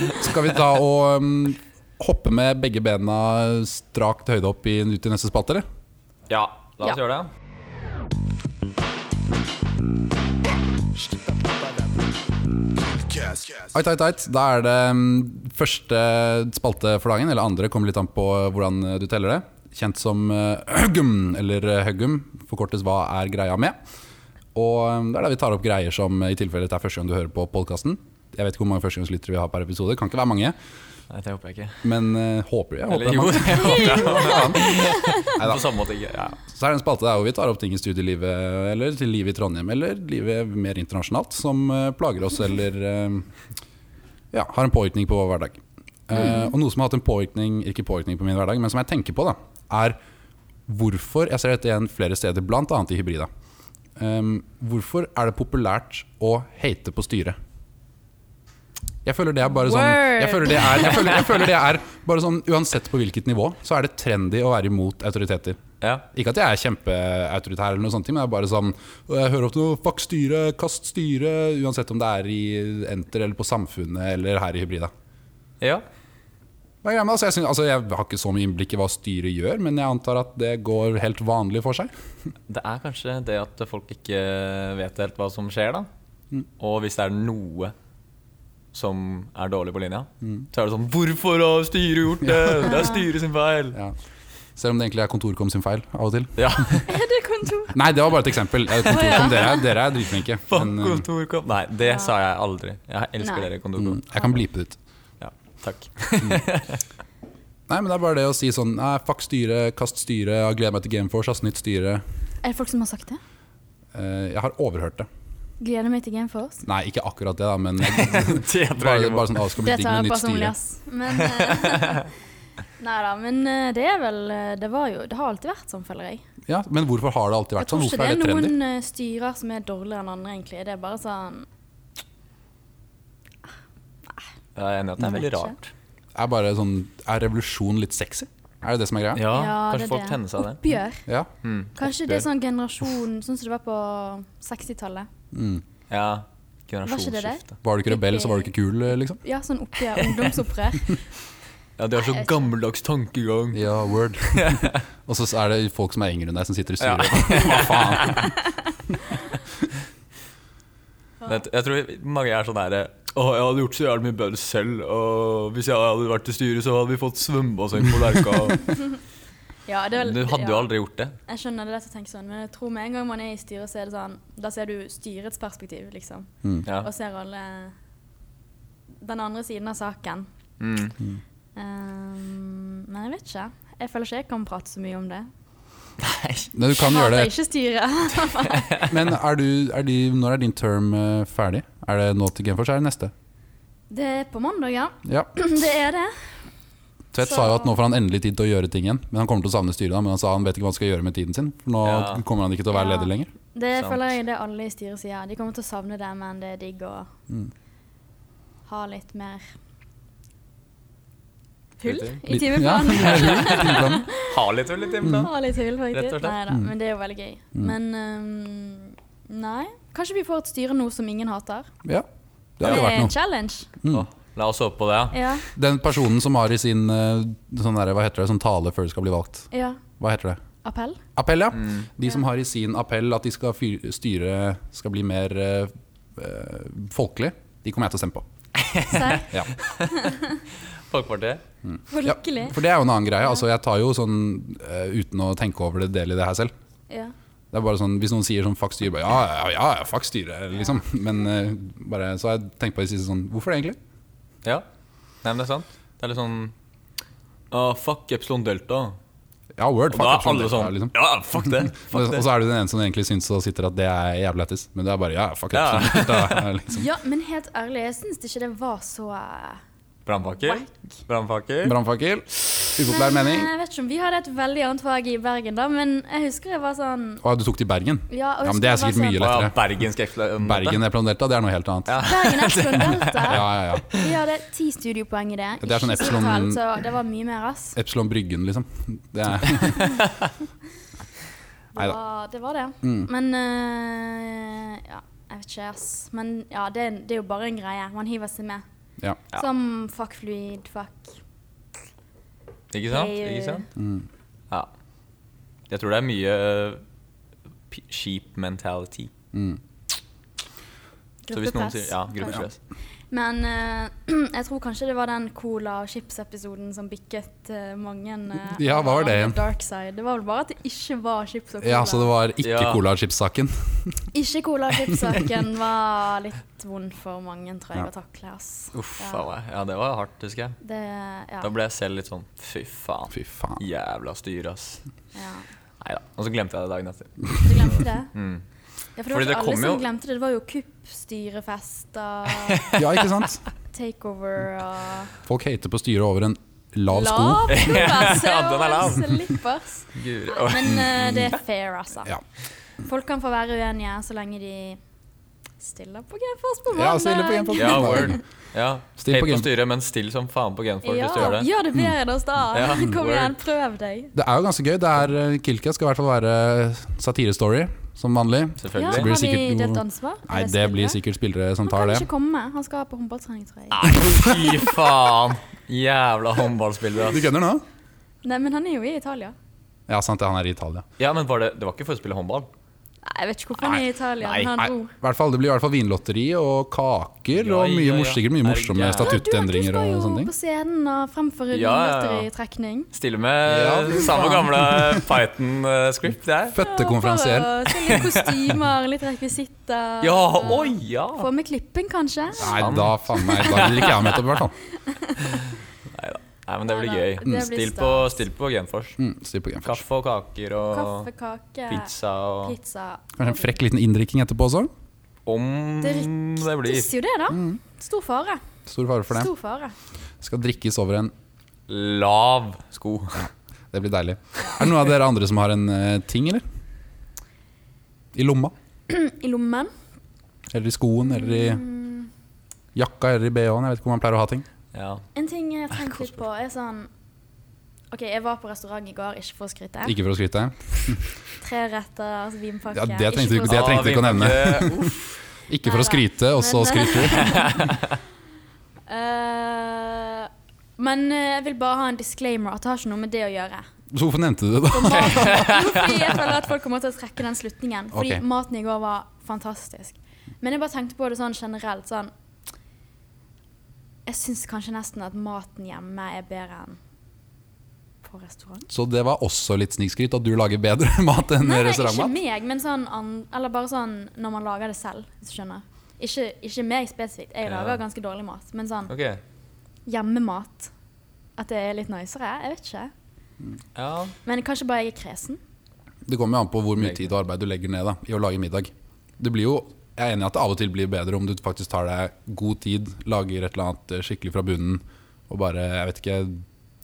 Speaker 2: fall skal vi da og um, hoppe med begge bena strakt høyde opp i, ut i neste spalte, eller?
Speaker 1: Ja, La oss
Speaker 3: Ja.
Speaker 1: gjøre det.
Speaker 2: Ait, ait, ait. Da er det mm, første spalte for dagen, eller andre, kommer litt an på hvordan eh, du teller det. Kjent som eh, *clears throat* Høggum, eller eh, Høggum, forkortes Hva er greia med? Og eh, det er der vi tar opp greier som eh, i tilfelle dette er første gang du hører på podkasten. Jeg vet ikke hvor mange førstegangslyttere vi har per episode, kan ikke være mange.
Speaker 1: Nei, det håper jeg ikke.
Speaker 2: Men eh, håper jeg. Håper
Speaker 1: Eller
Speaker 2: det er
Speaker 1: jo,
Speaker 2: mange.
Speaker 1: jeg håper det. *laughs*
Speaker 2: Neida.
Speaker 1: På samme måte ikke. Ja.
Speaker 2: Så er det en spalte der hvor vi tar opp ting i studielivet, eller til livet i Trondheim, eller livet mer internasjonalt, som eh, plager oss eller eh, ja, har en påvirkning på vår hverdag. Eh, og noe som har hatt en påvirkning, ikke påvirkning på min hverdag, men som jeg tenker på, da, er hvorfor Jeg ser dette igjen flere steder, bl.a. i Hybrida. Eh, hvorfor er det populært å hate på styret? Jeg føler det er bare sånn jeg føler det er, jeg føler, jeg føler det er bare sånn Uansett på hvilket nivå, så er det trendy å være imot autoriteter.
Speaker 1: Ja.
Speaker 2: Ikke at jeg er kjempeautoritær, eller noe sånt, men det er bare sånn «Å, Jeg hører ofte noe 'fuck styret', 'kast styret', uansett om det er i Enter eller på Samfunnet eller her i Hybrida.
Speaker 1: ja.
Speaker 2: Hva er greia med det? Altså, jeg, synes, altså, jeg har ikke så mye innblikk i hva styret gjør, men jeg antar at det går helt vanlig for seg.
Speaker 1: Det er kanskje det at folk ikke vet helt hva som skjer, da.
Speaker 2: Mm.
Speaker 1: Og hvis det er noe som er dårlig på linja,
Speaker 2: Mm.
Speaker 1: så er det sånn 'Hvorfor har styret gjort det?' Det er styret sin feil.
Speaker 2: Ja. Selv om det egentlig er Kontorkom sin feil av og til.
Speaker 1: Ja,
Speaker 3: Er det kontor?
Speaker 2: Nei, det var bare et eksempel. Eh, Kontorkom, dere, er- dere er dritflinke.
Speaker 1: fuck
Speaker 2: *laughs* Men eh,
Speaker 1: kontorkamp. Nei, det sa jeg aldri. Jeg elsker
Speaker 3: Nei.
Speaker 1: dere,
Speaker 2: mm,
Speaker 1: kontorkamp.
Speaker 2: jeg kan bleepe det ut.
Speaker 1: Ja, takk.
Speaker 2: *laughs* Nei, men det er bare det å si sånn Nei, fuck styret, kast styret, jeg gleder meg til Gameforce, ass, nytt styre.
Speaker 3: Er det folk som har sagt det?
Speaker 2: Eh, Jeg har overhørt det.
Speaker 3: Gleder meg til Gameforce.
Speaker 2: Nei, ikke akkurat det, da, men jeg
Speaker 1: Det tror jeg
Speaker 2: Bare,
Speaker 1: ikke på.
Speaker 2: bare sånn, «Å, det skal bli
Speaker 3: Det
Speaker 2: digg
Speaker 3: tar
Speaker 2: med
Speaker 3: jeg
Speaker 2: nytt styre.
Speaker 3: personlig, ass. Men *laughs* Nei da, men eh, det er vel eh, Det var jo Det har alltid vært sånn, føler jeg.
Speaker 2: Ja, men hvorfor har det alltid
Speaker 3: Jeg
Speaker 2: vært sånn?
Speaker 3: tror
Speaker 2: Hvorfor
Speaker 3: ikke det
Speaker 2: er
Speaker 3: er
Speaker 2: det trendy?
Speaker 3: noen eh, styrer som er dårligere enn andre, egentlig. Det er bare sånn
Speaker 1: Jeg er enig i at det er veldig
Speaker 3: Ikke.
Speaker 1: rart.
Speaker 2: Er, bare sånn, er revolusjon litt sexy? Er det det som er greia?
Speaker 1: Ja,
Speaker 3: det
Speaker 1: kanskje
Speaker 3: er
Speaker 1: folk
Speaker 3: det.
Speaker 1: tenner seg av det. Mm.
Speaker 3: Oppgjør.
Speaker 2: Ja.
Speaker 3: Kanskje det er sånn generasjon Sånn som det var på 60-tallet.
Speaker 1: Ja,
Speaker 3: ikke det der?
Speaker 1: generasjonsskifte.
Speaker 2: Mm. Var du ikke rebell, så var du ikke kul, liksom?
Speaker 3: Ja, sånn oppgjør. Ungdomsopprør.
Speaker 1: *laughs* Ja, de har så gammeldags tankegang.
Speaker 2: Ja, word. *laughs* Og så er det folk som er yngre enn deg, som sitter i styret. *laughs* Hva faen?
Speaker 1: Men Jeg jeg tror mange er sånn der Å, jeg hadde gjort så jævlig mye bedre selv. Og hvis jeg hadde vært i styret, så hadde vi fått svømmebasseng på Lerka.
Speaker 3: Ja, det er vel,
Speaker 1: Du hadde jo
Speaker 3: ja.
Speaker 1: aldri gjort det.
Speaker 3: Jeg skjønner det lett å tenke sånn, men jeg tror med en gang man er i styret, så er det sånn Da ser du styrets perspektiv, liksom.
Speaker 2: Mm.
Speaker 1: Ja.
Speaker 3: Og ser alle den andre siden av saken.
Speaker 1: Mm.
Speaker 3: Ehm, men jeg vet ikke. Jeg føler ikke jeg kan prate så mye om det.
Speaker 2: Nei, du kan
Speaker 3: Hater
Speaker 2: gjøre det.
Speaker 3: ikke styret.
Speaker 2: *laughs* Men er du, er de, når er din term eh, ferdig? Er det nå til Genfors, eller neste?
Speaker 3: Det er på mandag, ja. *clears throat*
Speaker 2: Ja.
Speaker 3: Det er det.
Speaker 2: Tvedt
Speaker 3: Så-
Speaker 2: sa jo at nå får han endelig tid til å gjøre ting igjen. Men han kommer til å savne styret, da. Men han sa han vet ikke hva han skal gjøre med tiden sin. For nå
Speaker 1: Ja.
Speaker 2: kommer han ikke til å være
Speaker 3: Ja.
Speaker 2: leder lenger.
Speaker 3: Det
Speaker 1: Sant.
Speaker 3: føler jeg det alle i styret sier. De kommer til å savne det, men det er digg å
Speaker 2: Mm.
Speaker 3: ha litt mer hull i
Speaker 2: Ja, *laughs*
Speaker 3: timeplanen.
Speaker 1: Ha litt hull i
Speaker 3: *laughs*
Speaker 2: Mm.
Speaker 1: timeplanen.
Speaker 3: Ha litt hull, faktisk.
Speaker 1: Rett og slett.
Speaker 3: Neida, men det er jo veldig gøy. Men ehm, nei. Kanskje vi får et styre nå som ingen hater.
Speaker 2: ja. Det
Speaker 3: Det
Speaker 2: hadde
Speaker 3: er
Speaker 2: vært noe.
Speaker 3: en challenge.
Speaker 2: Mm.
Speaker 1: La oss håpe på det. ja.
Speaker 3: Ja.
Speaker 2: Den personen som har i sin eh, sånn der, hva heter det, sånn tale før du skal bli valgt,
Speaker 3: ja.
Speaker 2: hva heter det?
Speaker 3: Appell.
Speaker 2: Appell, ja.
Speaker 1: Mm.
Speaker 2: De som har i sin appell at de skal fyr, styre skal bli mer eh, eh, folkelig, de kommer jeg til å stemme på.
Speaker 3: Serr?
Speaker 2: *laughs* Ja.
Speaker 1: Folkepartiet.
Speaker 3: Folkelig.
Speaker 2: For det er jo en annen greie. Altså, jeg tar jo sånn eh, uten å tenke over det del i det her selv.
Speaker 3: Ja.
Speaker 2: Det er bare sånn, Hvis noen sier sånn fuck styret, bare ja, ja, ja, ja, fuck styret, liksom. Men eh, bare, så har jeg tenkt på det siste sånn, hvorfor det egentlig?
Speaker 1: Ja. Nei, men det er sant. Det er litt sånn Å, fuck Epsilon Delta.
Speaker 2: Ja,
Speaker 1: Og
Speaker 2: word, fuck
Speaker 1: da er
Speaker 2: Epsilon
Speaker 1: alle
Speaker 2: Delta,
Speaker 1: sånn Ja, fuck det. *laughs* Fuck
Speaker 2: Og
Speaker 1: det.
Speaker 2: og så er du den ene som egentlig syns og sitter at det er jævlig lættis, men det er bare ja, fuck *laughs*
Speaker 1: Ja.
Speaker 2: Epsilon Delta, liksom.
Speaker 3: ja, men helt ærlig, jeg syns ikke det var så eh,
Speaker 1: Brannpakker. Brannpakker.
Speaker 2: Brannfakkel. Upopulær mening.
Speaker 3: Jeg vet ikke om Vi hadde et veldig annet fag i Bergen, da, men jeg husker jeg var sånn
Speaker 2: Å, du tok til Bergen?
Speaker 3: Ja, og
Speaker 2: Ja, men det er
Speaker 3: husker jeg
Speaker 2: sikkert
Speaker 3: var
Speaker 1: Å
Speaker 2: mye
Speaker 1: ja,
Speaker 2: lettere.
Speaker 1: bergensk Epsilon
Speaker 2: Bergen er Epsilon Delta, *laughs* det er noe helt annet.
Speaker 1: Ja.
Speaker 3: Bergen Epsilon Delta.
Speaker 2: Ja, ja, ja.
Speaker 3: Vi hadde ti studiopoeng i det.
Speaker 2: Det er sånn
Speaker 3: ikke så
Speaker 2: Epsilon-
Speaker 3: totalt, Så det var mye mer, ass.
Speaker 2: Epsilon Bryggen, liksom. Det er,
Speaker 3: Det
Speaker 2: Neida. Mm.
Speaker 3: var det. Var det. Men eh, ja, jeg vet ikke, ass. Men ja, det, er- det er jo bare en greie. Man hiver seg med.
Speaker 2: *laughs* ja.
Speaker 1: Ja.
Speaker 3: Som fuck fluid, fuck
Speaker 2: Mm.
Speaker 1: Ikke sant? Ikke sant? Ja. Jeg tror det er mye eh, p- sheep mentality.
Speaker 2: Mm.
Speaker 1: Så hvis noen sier,
Speaker 3: Gruppepress.
Speaker 1: ja, gruppepress.
Speaker 3: Men eh, *clears throat* jeg tror kanskje det var den cola og chips-episoden som bikket eh, mange eh,
Speaker 2: *laughs* Ja, hva var det
Speaker 3: on
Speaker 2: igjen?
Speaker 3: the Dark side. Det var vel bare at det ikke var chips og cola.
Speaker 2: Ja, så det var ikke
Speaker 1: Ja.
Speaker 2: cola og chips-saken.
Speaker 3: Ikke cola
Speaker 2: *laughs*
Speaker 3: og chips-saken var litt vond for mange, tror jeg,
Speaker 2: Ja.
Speaker 3: å takle. Ass.
Speaker 1: Uff
Speaker 3: Ja.
Speaker 1: a meg. Ja, det var hardt, husker jeg.
Speaker 3: Det, ja,
Speaker 1: Da ble jeg selv litt sånn fy faen.
Speaker 2: Fy faen.
Speaker 1: Jævla styr, ass.
Speaker 3: ja.
Speaker 1: Nei da. Og så glemte jeg det dagen etter.
Speaker 3: Du glemte det?
Speaker 1: *laughs* Mm.
Speaker 3: Ja, for
Speaker 1: Fordi
Speaker 3: det var
Speaker 1: det
Speaker 3: ikke alle
Speaker 1: kom
Speaker 3: som
Speaker 1: jo-
Speaker 3: glemte det. Det var jo kupp,
Speaker 1: *laughs*
Speaker 3: styrefester,
Speaker 2: Ja, ikke sant?
Speaker 3: takeover og
Speaker 2: Folk hater på styret over en lav sko.
Speaker 1: *laughs*
Speaker 3: Lav koverse
Speaker 1: Ja, den er lav.
Speaker 3: og slippers.
Speaker 1: Guri. Åh.
Speaker 3: Men eh, det er fair, altså.
Speaker 2: Ja.
Speaker 3: Folk kan få være uenige så lenge de stiller på GameForce på
Speaker 2: Ja, stiller på
Speaker 3: mandag.
Speaker 2: Genforce.
Speaker 1: Ja, word. Ja.
Speaker 2: Still
Speaker 1: Helt
Speaker 2: på
Speaker 1: på
Speaker 2: game.
Speaker 1: styret, men still som faen på genfolk hvis du gjør
Speaker 3: Ja,
Speaker 1: det.
Speaker 3: gjør det bedre enn oss *laughs* da.
Speaker 1: Ja,
Speaker 3: Kom
Speaker 1: word.
Speaker 3: igjen, prøv deg.
Speaker 2: Det er jo ganske gøy. Det er Kilka skal i hvert fall være satirestory, som vanlig.
Speaker 3: Ja,
Speaker 1: Selvfølgelig.
Speaker 2: Så blir det
Speaker 3: har vi
Speaker 2: sikkert
Speaker 3: delt
Speaker 2: noe-
Speaker 3: ansvar?
Speaker 2: Nei, det blir sikkert spillere som
Speaker 3: Han
Speaker 2: tar
Speaker 3: kan
Speaker 2: det.
Speaker 3: ikke komme. Han skal på håndballtrening, tror jeg.
Speaker 1: Nei, fy faen! Jævla håndballspillere. ass.
Speaker 2: kødder nå?
Speaker 3: Nei, men han er jo i Italia.
Speaker 2: Ja, sant det. Han er i Italia.
Speaker 1: Ja, men var det, det var ikke for å spille håndball?
Speaker 3: Nei, jeg vet ikke hvorfor han er i Italia.
Speaker 1: Nei,
Speaker 3: men han
Speaker 2: Nei,
Speaker 3: dro.
Speaker 2: i hvert fall, det blir i hvert fall vinlotteri og kaker
Speaker 1: Ja,
Speaker 2: og mye,
Speaker 1: ja, ja.
Speaker 2: mors- sikkert mye
Speaker 1: Er det
Speaker 2: morsomme
Speaker 1: gærent?
Speaker 2: statuttendringer
Speaker 3: Ja, du-
Speaker 2: og sånne
Speaker 3: Du skal jo
Speaker 2: ting.
Speaker 3: på scenen og fremføre
Speaker 1: Ja, ja, ja.
Speaker 3: lotteritrekning.
Speaker 1: Stille med
Speaker 2: Ja, fy
Speaker 1: samme
Speaker 2: faen.
Speaker 1: gamle Python-script, det
Speaker 2: *laughs*
Speaker 1: her.
Speaker 2: Føttekonferansier.
Speaker 3: Ja, bare se litt kostymer, litt rekvisitter.
Speaker 1: Ja, oi, ja!
Speaker 3: Få med klipping, kanskje.
Speaker 2: Nei, da faen meg. Da liker jeg meg opp, i hvert fall.
Speaker 1: Nei, men det blir
Speaker 3: Nei, da, det
Speaker 1: gøy.
Speaker 3: blir
Speaker 1: Still
Speaker 3: stas.
Speaker 1: på, still på Genfors.
Speaker 2: Mm, Still på Genfors.
Speaker 1: Kaffe og kaker og
Speaker 3: Kaffe, kake,
Speaker 1: pizza og
Speaker 3: pizza.
Speaker 2: Kanskje en frekk liten inndrikking etterpå også.
Speaker 1: Om
Speaker 3: Det
Speaker 1: det blir
Speaker 3: ryktes jo det, da. Stor fare.
Speaker 2: Stor fare Mm. for det.
Speaker 3: Stor fare.
Speaker 2: Skal drikkes over en
Speaker 1: lav
Speaker 2: *laughs*
Speaker 1: sko.
Speaker 2: Det blir deilig. Er det noen av dere andre som har en eh, ting, eller? I lomma?
Speaker 3: I lommen.
Speaker 2: Eller i skoen? Eller i
Speaker 3: Mm.
Speaker 2: jakka? Eller i bh-en? Jeg vet ikke hvor man pleier å ha ting.
Speaker 1: Ja.
Speaker 3: En ting jeg tenkte litt på, er sånn Ok, jeg var på restaurant i går, ikke for å skryte.
Speaker 2: Ikke for å skryte.
Speaker 3: Tre retter, altså vinpakke.
Speaker 2: Ja, det
Speaker 3: ikke
Speaker 2: tenkte du
Speaker 3: for å
Speaker 2: ikke- det
Speaker 1: Ah,
Speaker 2: trengte jeg ikke å nevne. *laughs*
Speaker 1: vinpakke. Uff,
Speaker 2: Ikke for å skryte, og så
Speaker 3: Men-
Speaker 2: skryter du.
Speaker 3: Eh, men eh, jeg vil bare ha en disclaimer at det har ikke noe med det å gjøre.
Speaker 2: Hvorfor nevnte du det, da?
Speaker 3: Jo, fordi jeg føler at folk kommer til å trekke den slutningen. Fordi
Speaker 2: Ok.
Speaker 3: maten i går var fantastisk. Men jeg bare tenkte på det sånn generelt. Sånn Jeg syns kanskje nesten at maten hjemme er bedre enn på restaurant.
Speaker 2: Så det var også litt snikskryt, at du lager bedre *laughs* mat enn
Speaker 3: Nei, nei, ikke
Speaker 2: restaurantmat?
Speaker 3: meg, men sånn an, Eller bare sånn når man lager det selv, hvis du skjønner. Ikke, ikke meg spesifikt. Jeg
Speaker 1: Ja.
Speaker 3: lager ganske dårlig mat. Men sånn
Speaker 1: ok.
Speaker 3: hjemmemat At det er litt nicere. Jeg vet ikke.
Speaker 1: Ja.
Speaker 3: Men kanskje bare jeg er kresen.
Speaker 2: Det kommer jo an på hvor mye tid og arbeid du legger ned da, i å lage middag. Det blir jo, jeg er enig i at det av og til blir bedre om du faktisk tar deg god tid, lager et eller annet eh, skikkelig fra bunnen, og bare, jeg vet ikke,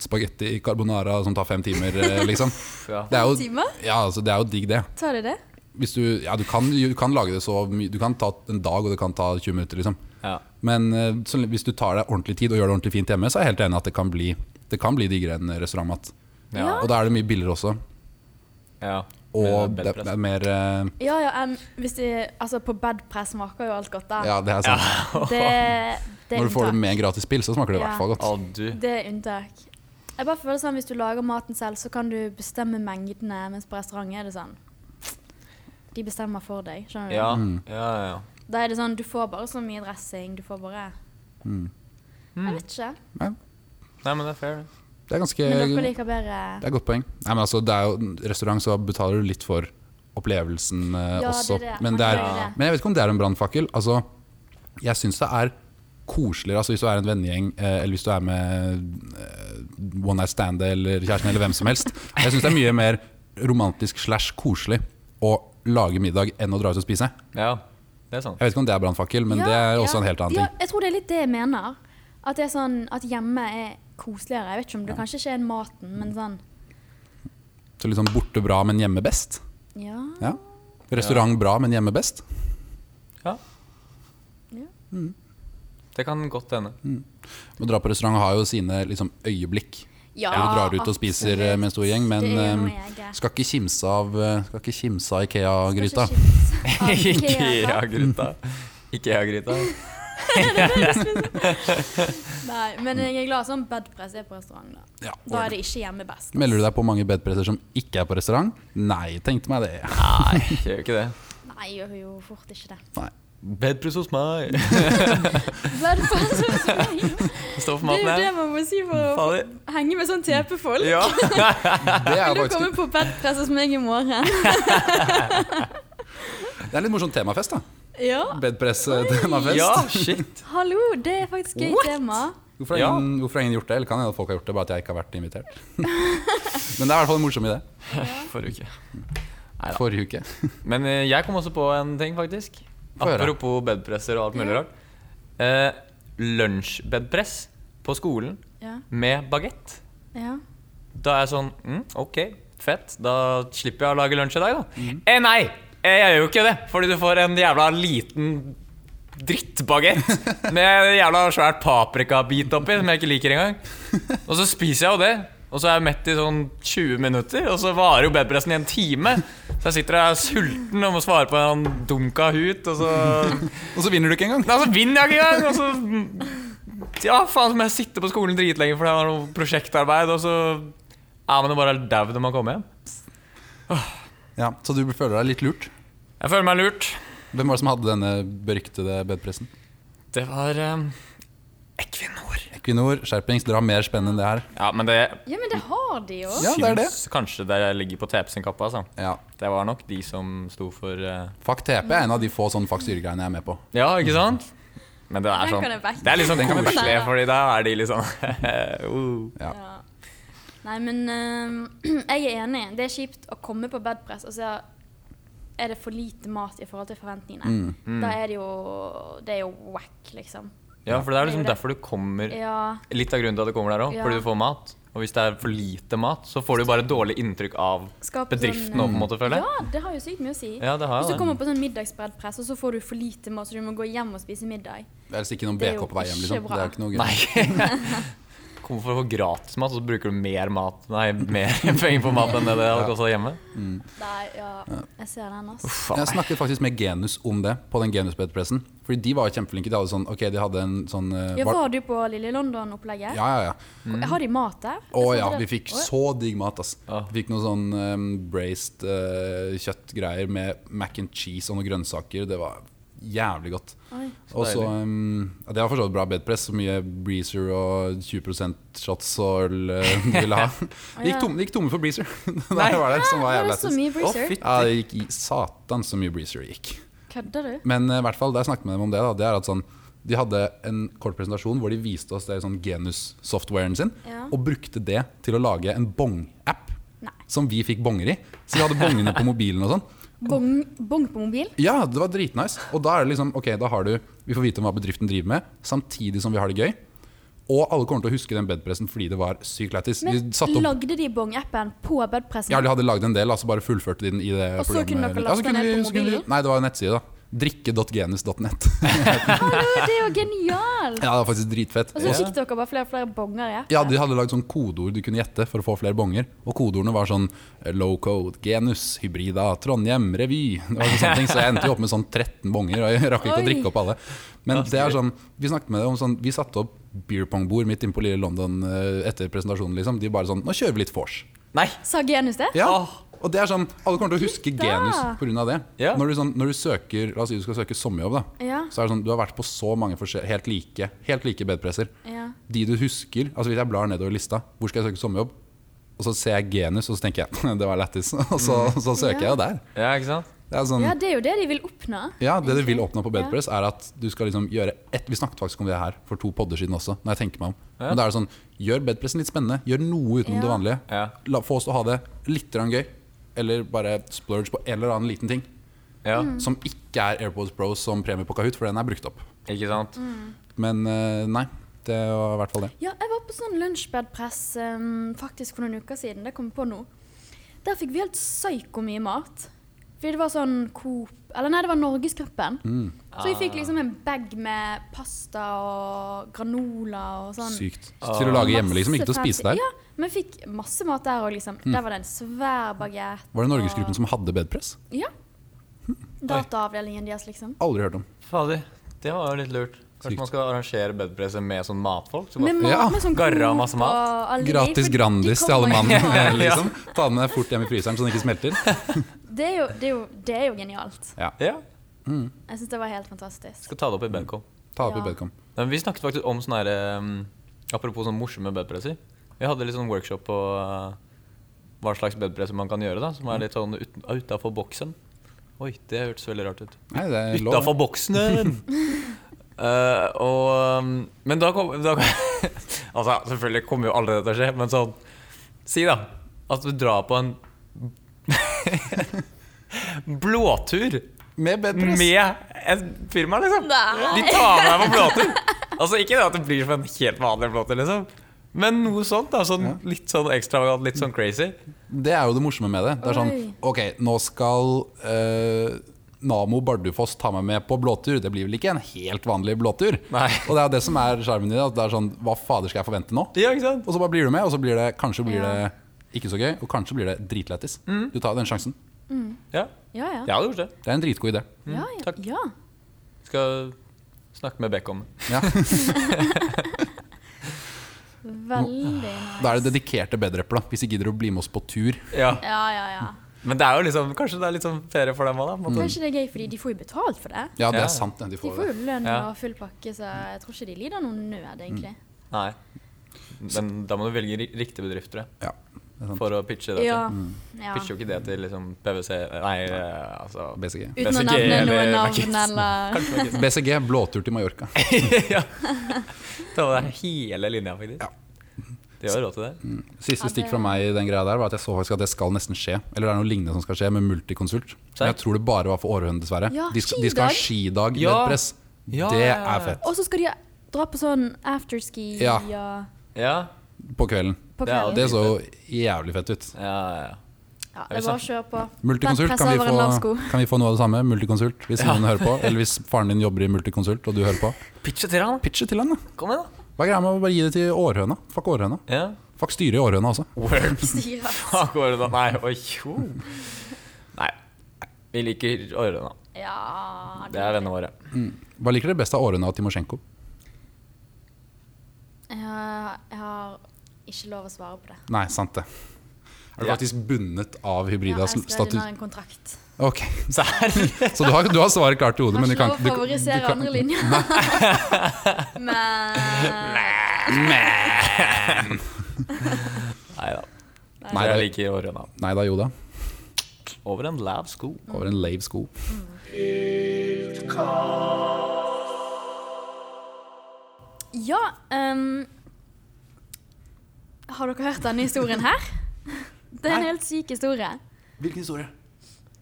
Speaker 2: spagetti carbonara som tar fem timer,
Speaker 3: *laughs*
Speaker 2: eh, liksom.
Speaker 1: Uff, ja.
Speaker 2: Det er jo,
Speaker 3: Fem timer?
Speaker 2: Ja, altså, det er jo digg, det.
Speaker 3: Tar du det?
Speaker 2: Hvis du, ja, du, kan, du kan lage det så mye Du kan ta en dag, og det kan ta 20 minutter, liksom.
Speaker 1: ja.
Speaker 2: Men eh, så, hvis du tar deg ordentlig tid og gjør det ordentlig fint hjemme, så er jeg helt enig at det kan bli, det kan bli diggere enn restaurantmat.
Speaker 1: Ja.
Speaker 2: Og da er det mye billigere også.
Speaker 1: ja.
Speaker 2: Og
Speaker 1: Med
Speaker 2: det
Speaker 1: bedpress.
Speaker 2: er mer eh,
Speaker 3: Ja, ja, enn hvis de, altså På bedpress smaker jo alt godt, da.
Speaker 2: Ja, det er sant.
Speaker 3: *laughs*
Speaker 2: *laughs*
Speaker 3: Det, det er
Speaker 2: Når du får det
Speaker 3: unntak.
Speaker 2: med gratis spill, så smaker det i
Speaker 3: Ja.
Speaker 2: hvert fall godt.
Speaker 1: Å, du.
Speaker 3: Det er unntak. Jeg bare føler sånn, Hvis du lager maten selv, så kan du bestemme mengdene, mens på restaurant er det sånn De bestemmer for deg. skjønner du?
Speaker 1: Ja,
Speaker 2: Mm.
Speaker 1: ja, ja.
Speaker 3: Da er det sånn, Du får bare så mye dressing. Du får bare
Speaker 2: Mm.
Speaker 3: Jeg vet ikke.
Speaker 2: Ja,
Speaker 1: Nei, men det er fair. det.
Speaker 2: det er ganske
Speaker 3: Men dere
Speaker 2: Det
Speaker 3: liker bedre
Speaker 2: er et godt poeng. Nei, men altså, det er jo restaurant, så betaler du litt for opplevelsen eh,
Speaker 3: Ja, det er
Speaker 2: også.
Speaker 3: det.
Speaker 2: Men,
Speaker 3: Man
Speaker 2: det er,
Speaker 3: gjør jo det.
Speaker 2: men jeg vet ikke om det er en brannfakkel. Altså, jeg syns det er koseligere altså, hvis du er en vennegjeng, eh, eller hvis du er med eh, one night stand eller kjæresten eller hvem som helst. Jeg syns det er mye mer romantisk slash koselig å lage middag enn å dra ut og spise.
Speaker 1: Ja, det er sant.
Speaker 2: Jeg vet ikke om det er brannfakkel, men
Speaker 3: Ja,
Speaker 2: det er
Speaker 3: ja.
Speaker 2: også en helt annen
Speaker 3: Ja,
Speaker 2: ting.
Speaker 3: jeg tror det er litt det jeg mener. At, det er sånn, at hjemme er koseligere. Jeg vet ikke om det kanskje ikke er maten, men sånn
Speaker 2: Så litt sånn borte bra, men hjemme best.
Speaker 3: Ja.
Speaker 2: Ja. Restaurant bra, men hjemme best.
Speaker 1: Ja.
Speaker 3: Ja.
Speaker 2: Mm.
Speaker 1: Det kan godt hende.
Speaker 2: Å dra på restaurant har jo sine liksom, øyeblikk.
Speaker 3: Ja,
Speaker 2: du drar ut og spiser eh, med en stor gjeng, men
Speaker 3: Det er jo noe
Speaker 2: eh,
Speaker 3: jeg er.
Speaker 2: skal ikke kimse av, eh, skal ikke kimse av Ikea-gryta.
Speaker 1: *laughs*
Speaker 3: Kanskje chips. Av Ikea.
Speaker 1: Ikea-gryta. Ikea-gryta.
Speaker 3: Nei, men jeg er glad sånn bedpress er på restaurant. Da
Speaker 2: Ja,
Speaker 3: Da er det ikke hjemme best.
Speaker 2: Melder du deg på mange bedpresser som ikke er på restaurant? Nei, tenkte meg det.
Speaker 1: Nei, gjør ikke det.
Speaker 3: Nei, jeg gjør jo fort ikke det.
Speaker 2: Nei.
Speaker 1: Bedpress hos meg.
Speaker 3: Bedpress hos meg.
Speaker 1: Stå for
Speaker 3: Det er jo det
Speaker 1: maten her.
Speaker 3: man må si for å
Speaker 1: Fader.
Speaker 3: henge med sånn TP-folk.
Speaker 1: Ja.
Speaker 2: Det er,
Speaker 3: Vil *laughs* du
Speaker 2: jo
Speaker 3: komme
Speaker 2: faktisk,
Speaker 3: på bedpress hos meg i morgen?
Speaker 2: det er litt morsomt temafest, da.
Speaker 3: Ja.
Speaker 2: Bedpress-temafest.
Speaker 1: ja, shit.
Speaker 3: Hallo, det er faktisk gøy tema.
Speaker 2: Hvorfor, har
Speaker 1: Ja.
Speaker 2: ingen, hvorfor har ingen gjort det? Eller kan hende at folk har gjort det, bare at jeg ikke har vært invitert. *laughs* Men det er i hvert fall en morsom idé.
Speaker 1: Forrige uke. Neida.
Speaker 2: Forrige uke.
Speaker 1: Men eh, jeg kom også på en ting, faktisk.
Speaker 2: Få høre.
Speaker 1: Apropos bedpresser og alt mulig
Speaker 3: Ja.
Speaker 1: rart. Eh, Lunsjbedpress på skolen
Speaker 3: Ja.
Speaker 1: med bagett.
Speaker 3: ja.
Speaker 1: Da er jeg sånn mm, OK, fett. Da slipper jeg å lage lunsj i dag, da. Eh, nei! eh, Jeg gjør jo ikke det, fordi du får en jævla liten drittbagett med en jævla svært paprikabit oppi, som jeg ikke liker engang. Og så spiser jeg jo det. Og så er jeg mett i sånn 20 minutter, og så varer jo bedpressen i en time. Så jeg sitter og er sulten og må svare på en dunka hut, og så
Speaker 2: Og så vinner du ikke engang.
Speaker 1: Nei, så vinner jeg ikke engang! Og så Ja, faen, så må jeg sitte på skolen dritlenge fordi jeg har noe prosjektarbeid, og så er man jo bare dau når man kommer hjem.
Speaker 2: Ja, så du føler deg litt lurt.
Speaker 1: Jeg føler meg lurt.
Speaker 2: Hvem var det som hadde denne beryktede bedpressen?
Speaker 1: Det var eh, Equinor.
Speaker 2: Equinor, skjerpings, dere har mer spenn enn det her.
Speaker 1: Ja, men det
Speaker 3: ja, men det har de jo.
Speaker 2: Ja, det er det.
Speaker 1: syns kanskje det ligger på TP sin kappe, altså.
Speaker 2: Ja.
Speaker 1: Det var nok de som sto for eh,
Speaker 2: Fuck TP er en av de få sånn fuck styregreiene jeg er med på.
Speaker 1: Ja, ikke sant? Men det er
Speaker 3: Den
Speaker 1: sånn
Speaker 3: kan jeg backe.
Speaker 1: Det er litt sånn
Speaker 2: Den kan jeg
Speaker 1: koselig,
Speaker 3: backe.
Speaker 1: fordi da er de litt sånn *laughs* uh.
Speaker 2: Ja.
Speaker 3: Ja. Nei, men eh, *clears throat* jeg er enig. Det er kjipt å komme på bedpress, og så er det for lite mat i forhold til forventningene.
Speaker 2: Mm.
Speaker 3: Da er det jo Det er jo whack, liksom.
Speaker 1: Ja, for det er liksom
Speaker 3: Det er det.
Speaker 1: derfor du kommer
Speaker 3: Ja.
Speaker 1: Litt av grunnen til at du kommer der òg,
Speaker 3: Ja.
Speaker 1: fordi du får mat. Og hvis det er for lite mat, så får du bare dårlig inntrykk av
Speaker 3: Skape
Speaker 1: bedriften
Speaker 3: sånn,
Speaker 1: òg, på en måte, føler jeg.
Speaker 3: Ja, det har jo sykt mye å si.
Speaker 1: Ja, det har
Speaker 3: Hvis du
Speaker 1: jeg.
Speaker 3: kommer
Speaker 1: det.
Speaker 3: på sånn middagsbreddpress, og så får du for lite mat, så du må gå hjem og spise middag.
Speaker 2: Helst altså ikke noen
Speaker 3: Det er
Speaker 2: BK
Speaker 3: jo
Speaker 2: på vei hjem, liksom.
Speaker 3: ikke
Speaker 2: Det
Speaker 3: bra.
Speaker 2: er jo ikke noe gøy.
Speaker 1: Nei. *laughs* Kommer for å få gratis mat, og så bruker du mer mat Nei, mer *laughs* penger på mat enn det det hadde kosta hjemme.
Speaker 3: Nei, ja, jeg ser den, altså.
Speaker 1: Faen.
Speaker 2: Jeg snakket faktisk med Genus om det, på den Genus-bedpressen. Fordi de var jo kjempeflinke. De hadde sånn, ok, de hadde en sånn eh,
Speaker 3: Ja,
Speaker 2: bar-
Speaker 3: var du på Lille London-opplegget?
Speaker 2: ja, ja, ja.
Speaker 3: Har de mat der? Jeg
Speaker 2: Å
Speaker 3: trodde
Speaker 2: ja,
Speaker 3: det-
Speaker 2: vi fikk
Speaker 3: Å, ja.
Speaker 2: så digg mat, ass.
Speaker 1: Ja.
Speaker 2: Vi fikk noe sånn um, braced eh, kjøttgreier med mac and cheese og noen grønnsaker. Det var jævlig godt.
Speaker 3: Oi.
Speaker 2: Og så um, ja, Det var for så vidt bra bedpress. Så mye breezer og 20 shots og øl
Speaker 3: *laughs*
Speaker 2: eh, de ville ha. De gikk tomme, de gikk tomme for breezer. *laughs* Nei, det var der, som var
Speaker 3: Var
Speaker 2: jævlig
Speaker 3: *laughs* det så
Speaker 2: lættis.
Speaker 3: mye breezer?
Speaker 1: fytti.
Speaker 2: Ja, det gikk i satan så mye breezer det gikk.
Speaker 3: Kødder du?
Speaker 2: Men eh, i hvert fall, da jeg snakket med dem om det, da, det er at sånn, de hadde en kort presentasjon hvor de viste oss det sånn genus-softwaren sin,
Speaker 3: Ja.
Speaker 2: og brukte det til å lage en bong-app
Speaker 3: Nei.
Speaker 2: som vi fikk bonger i. Så vi hadde bongene på mobilen og sånn.
Speaker 3: Bong, bong på mobil?
Speaker 2: Ja, det var dritnice. Og da er det liksom, ok, da har du, vi får vite om hva bedriften driver med, samtidig som vi har det gøy. Og alle kommer til å huske den bedpressen fordi det var sykt lættis. Vi
Speaker 3: Men
Speaker 2: satte opp
Speaker 3: lagde de bong-appen på bedpressen?
Speaker 2: ja, de hadde lagd en del, altså bare fullførte de den i det
Speaker 3: Og så kunne dere laste
Speaker 2: kunne
Speaker 3: ned
Speaker 2: vi-
Speaker 3: på
Speaker 2: så kunne vi-
Speaker 3: mobilen?
Speaker 2: Nei, det var en nettside, da. Drikke.genus.net.
Speaker 3: Hallo, det er jo
Speaker 2: *laughs*
Speaker 3: genialt!
Speaker 2: Ja, det var faktisk dritfett.
Speaker 3: Og så fikk dere bare flere og flere bonger i appen.
Speaker 2: Ja, de hadde lagd sånn kodeord du kunne gjette for å få flere bonger. Og kodeordene var sånn eh, low code, genus, hybrida, Trondheim, revy. Det var sånne sånne ting, Så jeg endte jo opp med sånn 13 bonger, og jeg rakk ikke å
Speaker 3: Oi.
Speaker 2: drikke opp alle. Men det er sånn, vi snakket med det om sånn, vi satte opp beer pong-bord midt inne på lille London eh, etter presentasjonen, liksom. De bare sånn, nå kjører vi litt vors.
Speaker 1: Nei.
Speaker 3: Sa Genus det?
Speaker 2: Ja.
Speaker 1: Åh.
Speaker 2: Og det er sånn, alle kommer til å huske
Speaker 3: Gitta.
Speaker 2: genus pga. det.
Speaker 1: Ja.
Speaker 2: Når, du sånn, når du søker, la oss si du skal søke sommerjobb, da.
Speaker 3: Ja.
Speaker 2: Så er det sånn, du har vært på så mange forskjell- helt like, helt like bedpresser.
Speaker 3: Ja.
Speaker 2: De du husker, altså hvis jeg blar nedover lista, hvor skal jeg søke sommerjobb? Og så ser jeg genus, og så tenker jeg *laughs* det var lættis. Og så, så søker jeg jo der.
Speaker 1: Ja, ikke sant?
Speaker 2: Det er sånn,
Speaker 3: Ja, det er jo det de vil oppnå.
Speaker 2: ja, Det du vil oppnå på bedpress, er at du skal liksom gjøre ett Vi snakket faktisk om det her for to podder siden også, når jeg tenker meg om. Men da er det sånn, gjør bedpressen litt spennende. Gjør noe utenom
Speaker 3: Ja.
Speaker 2: det vanlige.
Speaker 1: Ja.
Speaker 2: La, få oss til å ha det litt grann gøy. Eller bare splurge på en eller annen liten ting.
Speaker 1: Ja,
Speaker 3: Mm.
Speaker 2: Som ikke er AirPods Pro som premie på Kahoot, for den er brukt opp.
Speaker 1: ikke sant?
Speaker 3: Mm.
Speaker 2: Men eh, nei, det var i hvert fall det.
Speaker 3: Ja, jeg var på sånn lunsjbedpress um, faktisk for noen uker siden. Det kom jeg på nå. Der fikk vi helt psyko mye mat. Fordi det var sånn Coop Eller nei, det var Norgesgruppen.
Speaker 2: Mm.
Speaker 3: Så vi fikk liksom en bag med pasta og granola og sånn.
Speaker 2: Sykt.
Speaker 1: Ah.
Speaker 2: Til å lage hjemme, liksom. Ikke til å
Speaker 3: Masse
Speaker 2: spise
Speaker 3: fancy-
Speaker 2: der. Mm.
Speaker 3: Ja, men vi fikk masse mat der òg, liksom. Der var det en svær bagett.
Speaker 2: Var det Hm.
Speaker 3: Ah.
Speaker 2: Norgesgruppen som hadde bedpress?
Speaker 3: Ja. Dataavdelingen deres, liksom.
Speaker 2: Aldri hørt om.
Speaker 1: Fader, det var jo litt lurt. Kanskje man skal arrangere bedpresset med sånn matfolk? Så
Speaker 3: Med
Speaker 1: bare,
Speaker 3: mat,
Speaker 2: Ja.
Speaker 3: med sånn
Speaker 1: Garra
Speaker 3: god
Speaker 1: masse mat.
Speaker 3: og alle de,
Speaker 2: Gratis
Speaker 3: for de
Speaker 2: Grandis til alle
Speaker 3: kommer *laughs* jo-
Speaker 2: mann.
Speaker 1: Ja.
Speaker 2: Liksom. Ta den med fort hjem i fryseren så den ikke smelter.
Speaker 3: Det er jo, det er jo, det er jo genialt.
Speaker 1: ja,
Speaker 3: Jeg syns det var helt fantastisk.
Speaker 1: skal ta det opp i Bedcom.
Speaker 2: Ta opp i
Speaker 3: Ja.
Speaker 2: Bedcom.
Speaker 1: Nei, men vi snakket faktisk om sånne her, um, Apropos sånn morsomme bedpresser. Vi hadde litt sånn workshop på uh, hva slags bedpresser man kan gjøre. da Som er litt sånn ut- utafor boksen. Oi, det hørtes veldig rart ut.
Speaker 2: Nei, det er lov.
Speaker 1: Utafor boksen! Eh, og um, Men da kom, da kom *laughs* Altså, selvfølgelig kommer jo aldri det til å skje, men sånn Si, da, at du drar på en *laughs* blåtur
Speaker 2: Med bedpress.
Speaker 1: med et firma, liksom.
Speaker 3: Nei.
Speaker 1: De tar med deg på blåtur. Altså, ikke det at det blir som en helt vanlig blåtur, liksom. Men noe sånt. da, sånn, Litt sånn ekstravagant, litt sånn crazy.
Speaker 2: Det er jo det morsomme med det. Det er sånn
Speaker 3: Oi.
Speaker 2: Ok, nå skal eh, Namo Bardufoss ta meg med på blåtur. Det blir vel ikke en helt vanlig blåtur?
Speaker 1: Nei.
Speaker 2: Og det er jo det som er sjarmen i det. At det er sånn Hva fader skal jeg forvente nå?
Speaker 1: Ja, ikke sant?
Speaker 2: Og så bare blir du med, og så blir det kanskje blir
Speaker 3: Ja.
Speaker 2: det ikke så gøy, og kanskje blir det dritlættis. Du tar den sjansen.
Speaker 1: Ja,
Speaker 3: Ja, ja.
Speaker 1: Jeg hadde gjort det.
Speaker 2: Det er en dritgod idé.
Speaker 3: ja, ja.
Speaker 1: takk.
Speaker 3: ja.
Speaker 1: Skal snakke med Beck om det.
Speaker 2: Ja.
Speaker 3: Veldig nice.
Speaker 2: Da er det dedikerte bedrepper, da, hvis de gidder å bli med oss på tur.
Speaker 1: Ja.
Speaker 3: Ja, ja, ja.
Speaker 1: Men det er jo liksom, kanskje det er litt sånn ferie for dem òg, da. på en måte.
Speaker 3: Kanskje det er gøy, fordi de får jo betalt for det.
Speaker 2: Mm. Ja, det
Speaker 1: Ja.
Speaker 2: er sant. ja, De
Speaker 3: De
Speaker 2: får
Speaker 3: får
Speaker 2: det.
Speaker 3: jo lønn
Speaker 1: Ja.
Speaker 3: og full pakke, så jeg tror ikke de lider noen nød, egentlig.
Speaker 2: Mm.
Speaker 1: Mm. Nei. Men da må du velge ri- riktig bedrift, tror jeg,
Speaker 2: Ja, det Mm. er sant.
Speaker 1: for å pitche det.
Speaker 3: Ja.
Speaker 1: til.
Speaker 3: ja.
Speaker 1: Pitcher jo ikke det til liksom PwC Nei, eh, altså
Speaker 2: BCG.
Speaker 3: Uten å
Speaker 1: BCG
Speaker 3: nevne noe
Speaker 1: eller
Speaker 3: navn
Speaker 1: Mackinsey.
Speaker 3: eller
Speaker 1: Kanskje Mackinsey.
Speaker 2: BCG, blåtur til Mallorca.
Speaker 1: *laughs* ja. Ta med deg hele linja, faktisk.
Speaker 2: Ja.
Speaker 1: De har jo råd til det.
Speaker 2: Siste
Speaker 3: Ja, det-
Speaker 2: stikk fra meg i den greia der var at jeg så faktisk at det skal nesten skje. Eller det er noe lignende som skal skje med Multiconsult. Men jeg tror det bare var for Århøen, dessverre.
Speaker 3: Ja,
Speaker 2: De skal, de skal ha skidag med
Speaker 1: Ja.
Speaker 2: press.
Speaker 1: Ja,
Speaker 2: Det
Speaker 1: ja, ja.
Speaker 2: er fett.
Speaker 3: Og så skal de dra på sånn afterski
Speaker 2: Ja.
Speaker 3: og-
Speaker 1: Ja,
Speaker 2: På kvelden.
Speaker 3: på
Speaker 1: Det er
Speaker 3: kvelden.
Speaker 2: Det så jævlig fett ut.
Speaker 1: ja, ja.
Speaker 3: Ja, det er bare å kjøre på.
Speaker 2: Multiconsult,
Speaker 3: Press
Speaker 2: kan vi,
Speaker 3: over en lav *laughs*
Speaker 2: få,
Speaker 3: sko.
Speaker 2: kan vi få noe av det samme? Multiconsult, hvis noen hører på. Eller hvis faren din jobber i Multiconsult og du hører på.
Speaker 1: Pitche til han,
Speaker 2: Pitche til han, da.
Speaker 1: da. Kom igjen, da.
Speaker 2: Hva er greia med å bare gi det til Århøna? Fuck Århøna.
Speaker 1: Ja.
Speaker 2: Fuck styret i Århøna også.
Speaker 3: Styrer.
Speaker 1: Fuck Årene, nei. Oi, jo. Nei. Vi liker Årene.
Speaker 3: Ja
Speaker 1: Det er vennene våre.
Speaker 2: Hva liker dere best av Århøna og Timosjenko?
Speaker 3: Ja, Jeg har ikke lov å svare på det.
Speaker 2: Nei, sant det. Er du
Speaker 1: Ja.
Speaker 2: faktisk bundet av
Speaker 3: Ja, jeg
Speaker 2: Hybridas
Speaker 3: skrev
Speaker 2: status?
Speaker 3: under en kontrakt.
Speaker 2: Ok,
Speaker 1: Serr?
Speaker 2: Så du har, du har svaret klart i hodet,
Speaker 3: Jeg
Speaker 2: men
Speaker 3: har
Speaker 2: du
Speaker 3: ikke
Speaker 2: kan
Speaker 3: lov å
Speaker 2: ikke du- du
Speaker 3: favorisere
Speaker 2: kan-
Speaker 3: andre linjer. *laughs* Men
Speaker 1: Nei da.
Speaker 2: Nei,
Speaker 1: Jeg
Speaker 2: det-
Speaker 1: liker Årene.
Speaker 2: Nei da, Joda.
Speaker 1: Over en lav sko.
Speaker 2: Over en lave sko.
Speaker 3: ja ehm, Har dere hørt denne historien her? Det er en helt syk historie.
Speaker 2: Hvilken historie?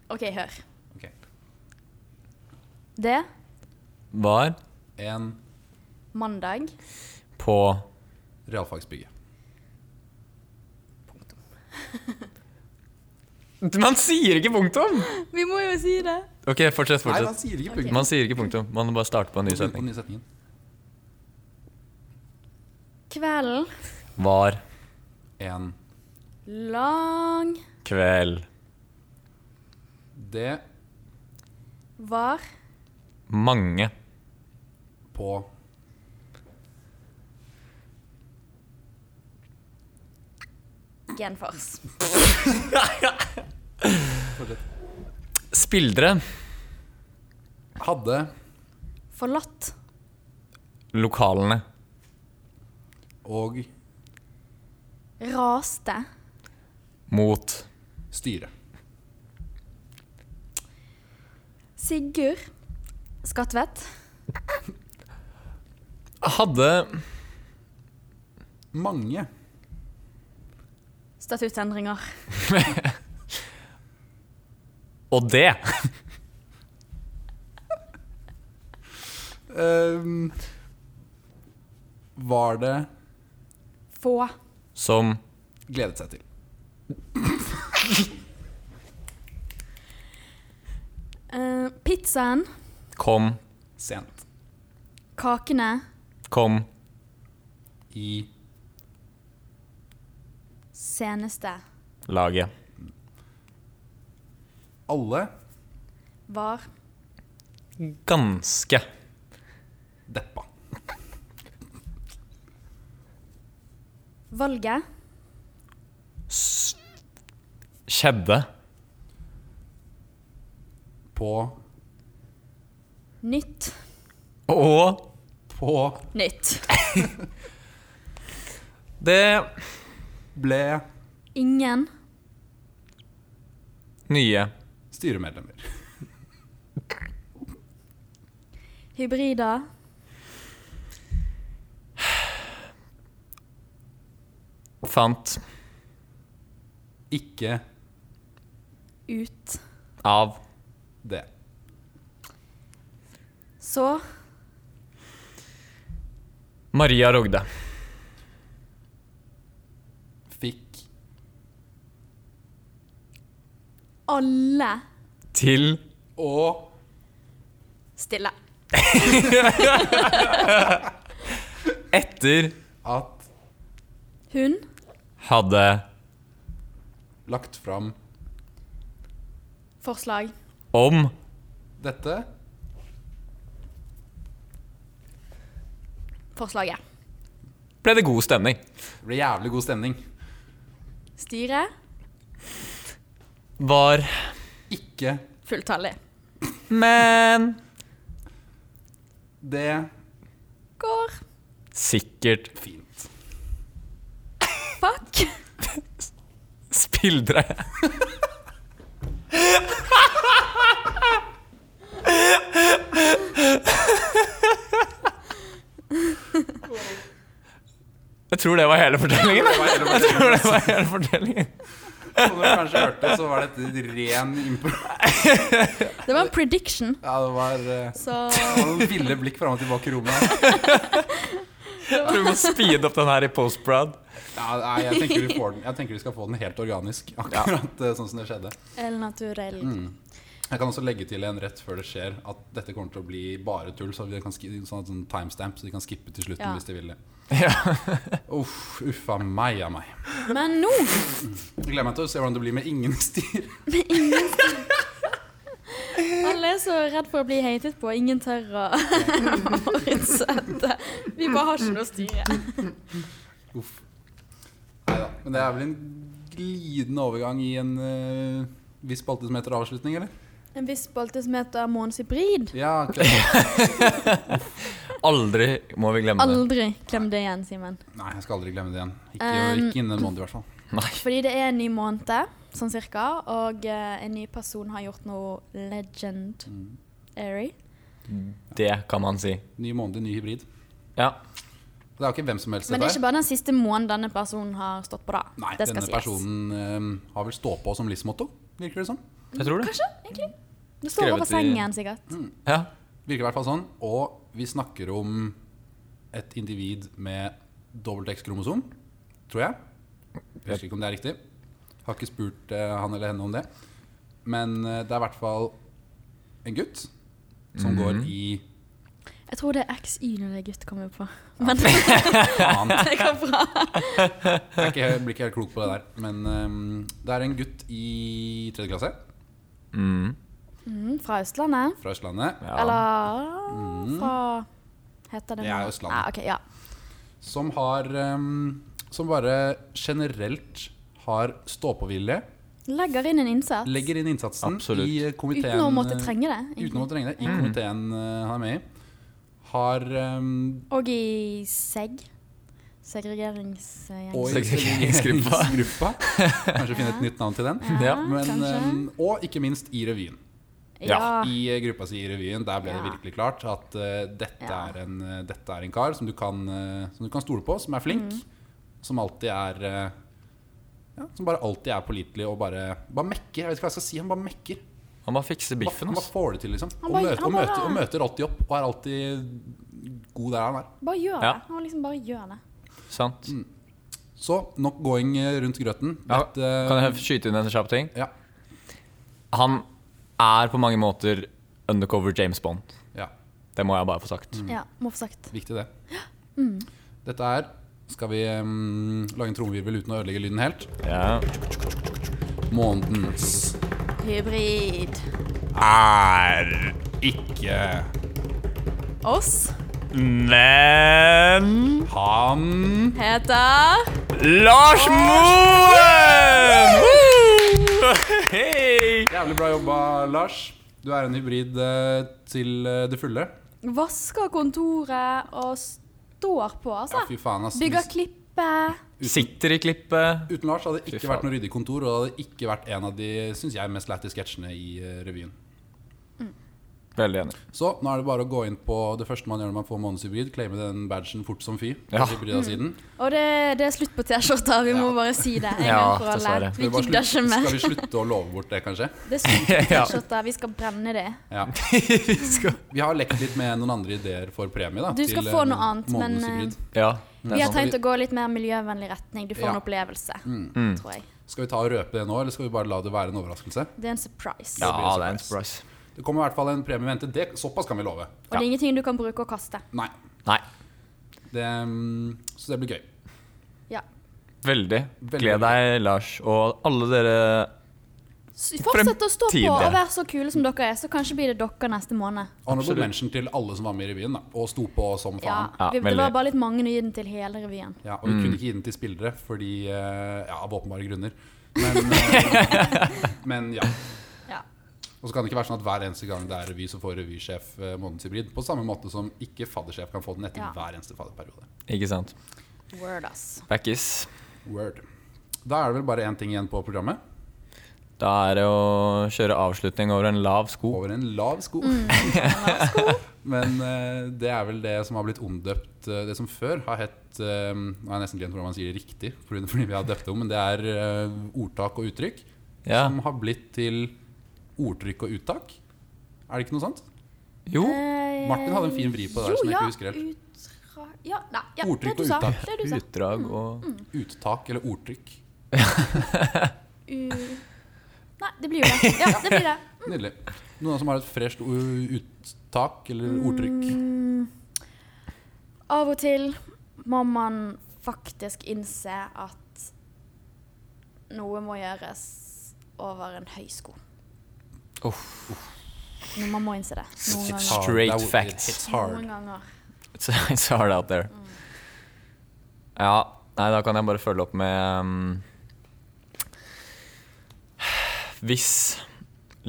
Speaker 3: OK, hør.
Speaker 2: Ok.
Speaker 3: Det
Speaker 1: Var
Speaker 2: En
Speaker 3: mandag
Speaker 1: på
Speaker 2: realfagsbygge.
Speaker 1: Man sier ikke punktum!
Speaker 3: Vi må jo si det.
Speaker 1: OK, fortsett,
Speaker 2: Nei, man
Speaker 1: fortsett.
Speaker 2: sier ikke
Speaker 3: Ok.
Speaker 2: punktum.
Speaker 1: Man sier ikke punktum. Man må bare starte på en ny
Speaker 2: Punktum
Speaker 1: setning.
Speaker 2: på den nye setningen.
Speaker 3: Kvelden
Speaker 1: Var
Speaker 2: En
Speaker 3: lang
Speaker 1: kveld
Speaker 2: det
Speaker 3: var
Speaker 1: mange
Speaker 2: på
Speaker 3: genfors.
Speaker 1: spillere
Speaker 2: hadde
Speaker 3: Forlatt
Speaker 1: lokalene
Speaker 2: og
Speaker 3: raste
Speaker 1: mot
Speaker 2: styre.
Speaker 3: Sigurd Skatvedt
Speaker 1: hadde
Speaker 2: Mange
Speaker 3: statuttendringer.
Speaker 1: Og det
Speaker 2: Ehm, var det
Speaker 3: Få
Speaker 1: som
Speaker 2: gledet seg til.
Speaker 3: eh, pizzaen,
Speaker 1: kom,
Speaker 2: Sent.
Speaker 3: kakene,
Speaker 1: kom
Speaker 2: I
Speaker 3: seneste
Speaker 1: laget.
Speaker 2: alle
Speaker 3: var
Speaker 1: Ganske
Speaker 2: deppa.
Speaker 3: Valget.
Speaker 1: S- Skjedde.
Speaker 2: På
Speaker 3: Nytt.
Speaker 1: Og
Speaker 2: På
Speaker 3: Nytt.
Speaker 1: det
Speaker 2: ble
Speaker 3: Ingen.
Speaker 1: nye.
Speaker 2: styremedlemmer.
Speaker 3: Hybrider.
Speaker 1: Fant
Speaker 2: Ikke
Speaker 3: Ut.
Speaker 1: av
Speaker 2: det.
Speaker 3: Så.
Speaker 1: Maria Rogde.
Speaker 2: Fikk
Speaker 3: Alle.
Speaker 1: Til *laughs*
Speaker 2: og
Speaker 3: Stille.
Speaker 1: etter
Speaker 2: at
Speaker 3: Hun.
Speaker 1: hadde
Speaker 2: lagt fram
Speaker 3: Forslag.
Speaker 1: om
Speaker 2: dette
Speaker 3: Forslaget.
Speaker 1: ble det god stemning.
Speaker 2: Det ble jævlig god stemning.
Speaker 3: Styre.
Speaker 1: Var
Speaker 2: Ikke
Speaker 3: Fulltallig.
Speaker 1: men
Speaker 2: det
Speaker 3: Går.
Speaker 1: sikkert
Speaker 2: fint.
Speaker 3: Fuck.
Speaker 1: spildre. Jeg tror det var hele fortellingen.
Speaker 2: Det var hele
Speaker 1: Jeg tror det var hele fortellingen.
Speaker 2: Som dere kanskje hørte, så var dette ren impro...
Speaker 3: Det var en prediction,
Speaker 2: Ja, det var eh,
Speaker 3: så
Speaker 2: det var noen ville blikk fram og tilbake i rommet. her.
Speaker 1: Jeg tror vi må speede opp den her i postprod.
Speaker 2: Ja, nei, jeg, tenker vi får den. jeg tenker vi skal få den helt organisk, akkurat eh, sånn som det skjedde.
Speaker 3: El naturell.
Speaker 2: Jeg kan også legge til en rett før det skjer at dette kommer til å bli bare tull. Så de kan ski- sånn, at sånn timestamp, så de kan skippe til slutten
Speaker 3: Ja.
Speaker 2: hvis de vil det.
Speaker 1: Ja.
Speaker 2: Uff, uffa meg a meg.
Speaker 3: Men nå
Speaker 2: Jeg Gleder meg til å se hvordan det blir med ingen styr.
Speaker 3: Alle er så redd for å bli hatet på. Ingen tør å forutsette. Vi bare har ikke noe å styre.
Speaker 2: Uff. Neida, Men det er vel en glidende overgang i en eh, viss spalte som heter avslutning, eller?
Speaker 3: En viss spalte som heter Månens hybrid.
Speaker 2: Ja, akkurat.
Speaker 1: Aldri må vi glemme det.
Speaker 3: Aldri glem det igjen, Simen.
Speaker 2: Nei, jeg skal aldri glemme det igjen. Ikke,
Speaker 3: Um,
Speaker 2: ikke innen en måned, i hvert fall.
Speaker 1: Nei.
Speaker 3: Fordi det er en ny måned, sånn cirka, og eh, en ny person har gjort noe legendary.
Speaker 2: Mm.
Speaker 1: Det kan man si.
Speaker 2: Ny måned, ny hybrid.
Speaker 1: Ja.
Speaker 2: Det er jo ikke hvem som helst.
Speaker 3: Men det er
Speaker 2: dette
Speaker 3: ikke bare den siste måneden denne personen har stått på, da.
Speaker 2: her. Nei,
Speaker 3: det skal
Speaker 2: denne
Speaker 3: sies.
Speaker 2: personen eh, har vel stå på som livsmotto, virker det som.
Speaker 1: Jeg tror det.
Speaker 3: Kanskje, egentlig. Det står
Speaker 1: Skrevet
Speaker 3: over
Speaker 1: i-
Speaker 3: sengen,
Speaker 2: Mm.
Speaker 3: sikkert.
Speaker 1: Ja.
Speaker 2: Virker i hvert fall sånn. Og vi snakker om et individ med dobbelt X-kromosom, tror jeg. Jeg husker ikke om det er riktig. Har ikke spurt eh, han eller henne om det. Men eh, det er i hvert fall en gutt som går i
Speaker 3: Jeg tror det er XY når det er gutt, kommer jeg på. Men *laughs*
Speaker 2: faen.
Speaker 3: det går bra.
Speaker 2: Jeg er ikke, jeg blir ikke helt klok på det der. Men eh, det er en gutt i tredje klasse
Speaker 1: Mm.
Speaker 3: Mm, fra Østlandet.
Speaker 2: fra Østlandet
Speaker 1: ja.
Speaker 3: Eller fra Heter det
Speaker 2: Mm. Det er
Speaker 3: noe?
Speaker 2: jo Østlandet.
Speaker 3: Ah, ok, ja.
Speaker 2: som har eh, Som bare generelt har stå-på-vilje.
Speaker 3: Legger inn en innsats
Speaker 2: Legger inn innsatsen
Speaker 1: Absolutt.
Speaker 2: i eh, komiteen.
Speaker 3: uten å måtte
Speaker 2: eh,
Speaker 3: trenge det.
Speaker 2: uten å
Speaker 3: egentlig.
Speaker 2: måtte trenge det, i
Speaker 1: Mm.
Speaker 2: komiteen eh, han er med i, har ehm,
Speaker 3: Og i SEG. Segregeringsgjeng.
Speaker 2: Og i
Speaker 1: Segregeringsgruppa.
Speaker 2: segregeringsgruppa. Kanskje finne et nytt navn
Speaker 3: *laughs*
Speaker 2: til den.
Speaker 1: Ja.
Speaker 2: Men,
Speaker 3: kanskje.
Speaker 2: ehm, og ikke minst i revyen.
Speaker 1: ja,
Speaker 3: ja.
Speaker 2: I eh, gruppa si i revyen, der ble det
Speaker 3: Ja.
Speaker 2: virkelig klart at eh, dette,
Speaker 3: Ja.
Speaker 2: er en, eh, dette er en kar som du kan, eh, som du kan stole på, som er flink,
Speaker 3: Mm.
Speaker 2: som alltid er eh, ja, som bare alltid er pålitelig og bare, bare mekker. Jeg vet ikke hva jeg skal si, han bare mekker.
Speaker 1: Han bare fikser
Speaker 2: Bare-
Speaker 1: biffen,
Speaker 2: Han
Speaker 1: ass.
Speaker 2: bare får det til, liksom.
Speaker 3: Han
Speaker 2: Og
Speaker 3: bare-
Speaker 2: møter,
Speaker 3: han
Speaker 2: og,
Speaker 3: bare-
Speaker 2: møter, og møter alltid opp og er alltid god der han er.
Speaker 3: Bare gjør
Speaker 1: Ja.
Speaker 3: det. Han liksom bare gjør det.
Speaker 1: Sant.
Speaker 2: Så nok going eh, rundt grøten.
Speaker 1: Ja,
Speaker 2: Dette, eh,
Speaker 1: Kan jeg skyte inn en kjapp ting?
Speaker 2: Ja,
Speaker 1: Han er på mange måter undercover James Bond.
Speaker 2: ja,
Speaker 1: Det må jeg bare få sagt.
Speaker 3: Ja, må få sagt.
Speaker 2: viktig det. Dette er Skal vi em, lage en trommevirvel uten å ødelegge lyden helt?
Speaker 1: Ja.
Speaker 2: Månedens
Speaker 3: Hybrid.
Speaker 2: er ikke
Speaker 3: Oss
Speaker 1: Men
Speaker 2: han
Speaker 3: heter
Speaker 1: Lars Moen! Woo! *laughs* Hei!
Speaker 2: Jævlig bra jobba, Lars. Du er en hybrid eh, til eh, det fulle.
Speaker 3: Vasker kontoret og står på,
Speaker 2: Ja,
Speaker 3: altså.
Speaker 2: fy faen, ass.
Speaker 3: Bygger
Speaker 2: Hvis-
Speaker 3: klippe.
Speaker 1: Sitter i klippet.
Speaker 2: Uten Lars hadde det
Speaker 1: Fy
Speaker 2: ikke
Speaker 1: faen.
Speaker 2: vært noe ryddig kontor, og det hadde ikke vært en av de synes jeg, mest lættis sketsjene i eh, revyen.
Speaker 1: Veldig enig.
Speaker 2: Så nå er det bare å gå inn på det første man gjør når man får månedshybrid, claime den badgen fort som fy. på
Speaker 1: Ja.
Speaker 2: hybridasiden.
Speaker 3: Og det, det er slutt på T-skjorter, vi må bare si det en
Speaker 1: Ja,
Speaker 3: gang for alle.
Speaker 1: dessverre.
Speaker 3: Vi
Speaker 2: Skal bare
Speaker 3: gidder ikke
Speaker 2: slutte-
Speaker 3: mer.
Speaker 2: Skal vi slutte å love bort det, kanskje?
Speaker 3: Det er slutt på
Speaker 2: *laughs*
Speaker 1: Ja.
Speaker 3: T-skjorter, vi skal brenne det.
Speaker 2: Ja. Vi har lekt litt med noen andre ideer for premie. da
Speaker 3: Du skal
Speaker 2: til,
Speaker 3: få
Speaker 2: eh,
Speaker 3: noe annet, men,
Speaker 2: månedshybrid.
Speaker 1: Ja.
Speaker 3: Vi har
Speaker 2: sant.
Speaker 3: tenkt å gå litt mer miljøvennlig retning. Du får
Speaker 2: Ja.
Speaker 3: en opplevelse,
Speaker 1: Mm.
Speaker 2: Mm.
Speaker 3: tror jeg.
Speaker 2: Skal vi ta og røpe det nå, eller skal vi bare la det være en overraskelse?
Speaker 3: Det er en surprise.
Speaker 1: Ja,
Speaker 2: blir en
Speaker 1: det er en surprise.
Speaker 2: Det kommer i hvert fall en premie i vente. Det, såpass kan vi love.
Speaker 3: Og det er ingenting du kan bruke og kaste.
Speaker 2: Nei.
Speaker 1: Nei.
Speaker 2: Det, mm, så det blir gøy.
Speaker 3: Ja.
Speaker 1: Veldig.
Speaker 2: Veldig.
Speaker 1: Gled deg, Lars, og alle dere
Speaker 3: S- Fortsett å stå på
Speaker 1: Fremtiden.
Speaker 3: og være så kule som dere er, så kanskje blir det dere neste måned.
Speaker 2: Honorable
Speaker 1: Absolutt.
Speaker 2: mention til alle som var med i revyen, da, og sto på som
Speaker 3: Ja,
Speaker 2: faen. Ja.
Speaker 1: Ja,
Speaker 3: vi, det
Speaker 1: veldig.
Speaker 3: var bare litt mange å gi den til hele revyen.
Speaker 2: og vi
Speaker 1: Mm.
Speaker 2: kunne ikke gi den til spillere fordi eh, Ja, av åpenbare grunner.
Speaker 1: *laughs*
Speaker 2: Men, eh, men ja.
Speaker 3: Ja.
Speaker 2: Og så kan det ikke være sånn at hver eneste gang det er revy, så får revysjef eh, månedshybrid. På samme måte som ikke faddersjef kan få den etter
Speaker 3: Ja.
Speaker 2: hver eneste fadderperiode.
Speaker 1: Ikke sant?
Speaker 3: Word, ass.
Speaker 1: Backis.
Speaker 2: Word. Da er det vel bare én ting igjen på programmet.
Speaker 1: Da er det å kjøre avslutning over en lav sko.
Speaker 2: Over en lav sko. *laughs* Men eh, det er vel det som har blitt omdøpt eh, Det som før har hett eh, Nå har jeg nesten glemt hvordan man sier det riktig, *laughs* fordi- fordi vi har døpt det om, men det er eh, ordtak og uttrykk.
Speaker 1: Ja.
Speaker 2: Som har blitt til ordtrykk og uttak. Er det ikke noe sånt?
Speaker 1: Jo.
Speaker 2: Oh, Martin hadde en fin vri på det der som jeg ikke husker helt.
Speaker 3: Utra... Ja, nei, ja, det
Speaker 2: Ordtrykk
Speaker 3: du
Speaker 2: og
Speaker 3: sa.
Speaker 2: uttak.
Speaker 3: Det du sa. Mm.
Speaker 1: Utdrag og
Speaker 2: Uttak eller ordtrykk.
Speaker 3: U... Nei, det blir jo det. Ja, det blir det.
Speaker 2: Nydelig. Noen som har et fresht o- uttak eller
Speaker 3: Mm.
Speaker 2: ordtrykk?
Speaker 3: Av og til må man faktisk innse at noe må gjøres over en høy sko. Men Man må innse det. Noen
Speaker 1: It's
Speaker 3: ganger.
Speaker 1: Straight
Speaker 2: Det er-
Speaker 1: facts.
Speaker 2: It's hard.
Speaker 3: Noen ganger.
Speaker 1: It's, *laughs* it's hard out there. Ja, nei, da kan jeg bare følge opp med um, Hvis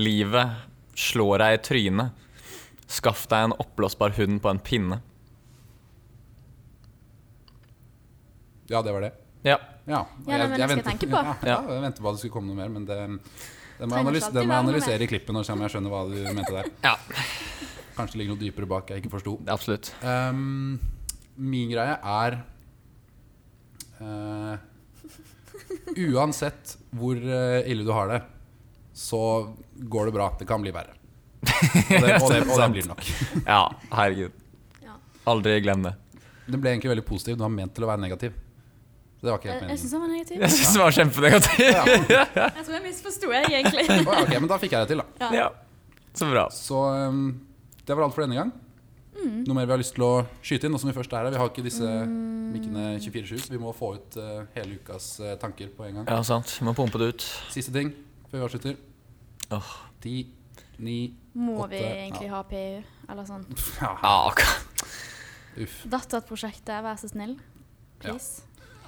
Speaker 1: livet slår deg i trynet, skaff deg en oppblåsbar hund på en pinne.
Speaker 2: Ja, det var det.
Speaker 1: Ja.
Speaker 2: Ja,
Speaker 3: Ja, nei, men det skal jeg tenke på.
Speaker 2: Ja, ja, jeg venter på at det skulle komme noe mer, men det, det må jeg
Speaker 3: Trenger ikke
Speaker 2: analys,
Speaker 3: alltid
Speaker 2: det må jeg
Speaker 3: være noe
Speaker 2: analysere i klippen og se om jeg skjønner hva du mente der.
Speaker 1: ja.
Speaker 2: Kanskje det ligger noe dypere bak jeg ikke forsto.
Speaker 1: *laughs* Absolutt.
Speaker 2: Ehm, min greie er eh, Uansett hvor eh, ille du har det, så går det bra. Det kan bli verre. Og det, og det, og det blir det nok.
Speaker 1: Ja, herregud.
Speaker 3: Ja.
Speaker 1: Aldri glem det.
Speaker 2: Den ble egentlig veldig positiv. Den var ment til å være negativ. Så det var ikke
Speaker 3: Jeg,
Speaker 2: helt
Speaker 3: jeg syns
Speaker 2: meningen.
Speaker 3: han var negativ.
Speaker 1: Jeg syns det var kjempenegativt.
Speaker 3: Jeg tror jeg misforsto, jeg,
Speaker 2: *laughs*
Speaker 3: egentlig.
Speaker 2: Å, ja, ok, men da fikk jeg det til, da.
Speaker 1: *laughs* Ja. Så bra.
Speaker 2: Så um, det var alt for denne gang.
Speaker 3: Mm.
Speaker 2: Noe mer vi har lyst til å skyte inn? Nå som Vi først er her Vi har ikke disse
Speaker 3: Mm.
Speaker 2: mikkene 24-7, så vi må få ut eh, hele ukas eh, tanker på en gang.
Speaker 1: Ja, sant. Vi må pumpe det ut.
Speaker 2: Siste ting før vi avslutter.
Speaker 1: Åh.
Speaker 2: Ti, ni
Speaker 3: Må
Speaker 2: Åtte,
Speaker 3: vi egentlig ha PU, eller sånn?
Speaker 2: ja,
Speaker 1: Ja, ok.
Speaker 2: Uff.
Speaker 3: Datterprosjektet, vær så snill. Please.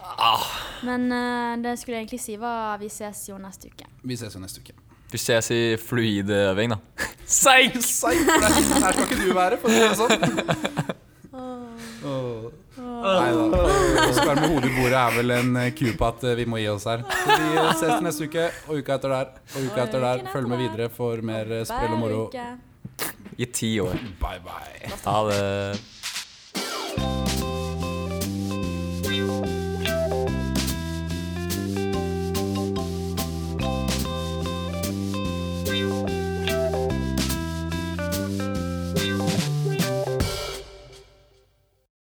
Speaker 1: Ah.
Speaker 3: Men eh, det jeg skulle egentlig si, var vi ses jo neste uke.
Speaker 2: Vi ses jo neste uke.
Speaker 1: Vi ses i fluidøving, da. *laughs* Seig!
Speaker 2: Seigt! for Der, der skal ikke du være, for å si det sånn. Åh. Nei da. Å skvære med hodet i bordet er vel en eh, ku på at eh, vi må gi oss her. Så vi eh, ses neste uke, og uka etter der, og uka etter der. Følg med videre for mer eh, sprell og moro.
Speaker 3: Hver uke.
Speaker 1: I ti år.
Speaker 2: Bye bye.
Speaker 1: Ha det.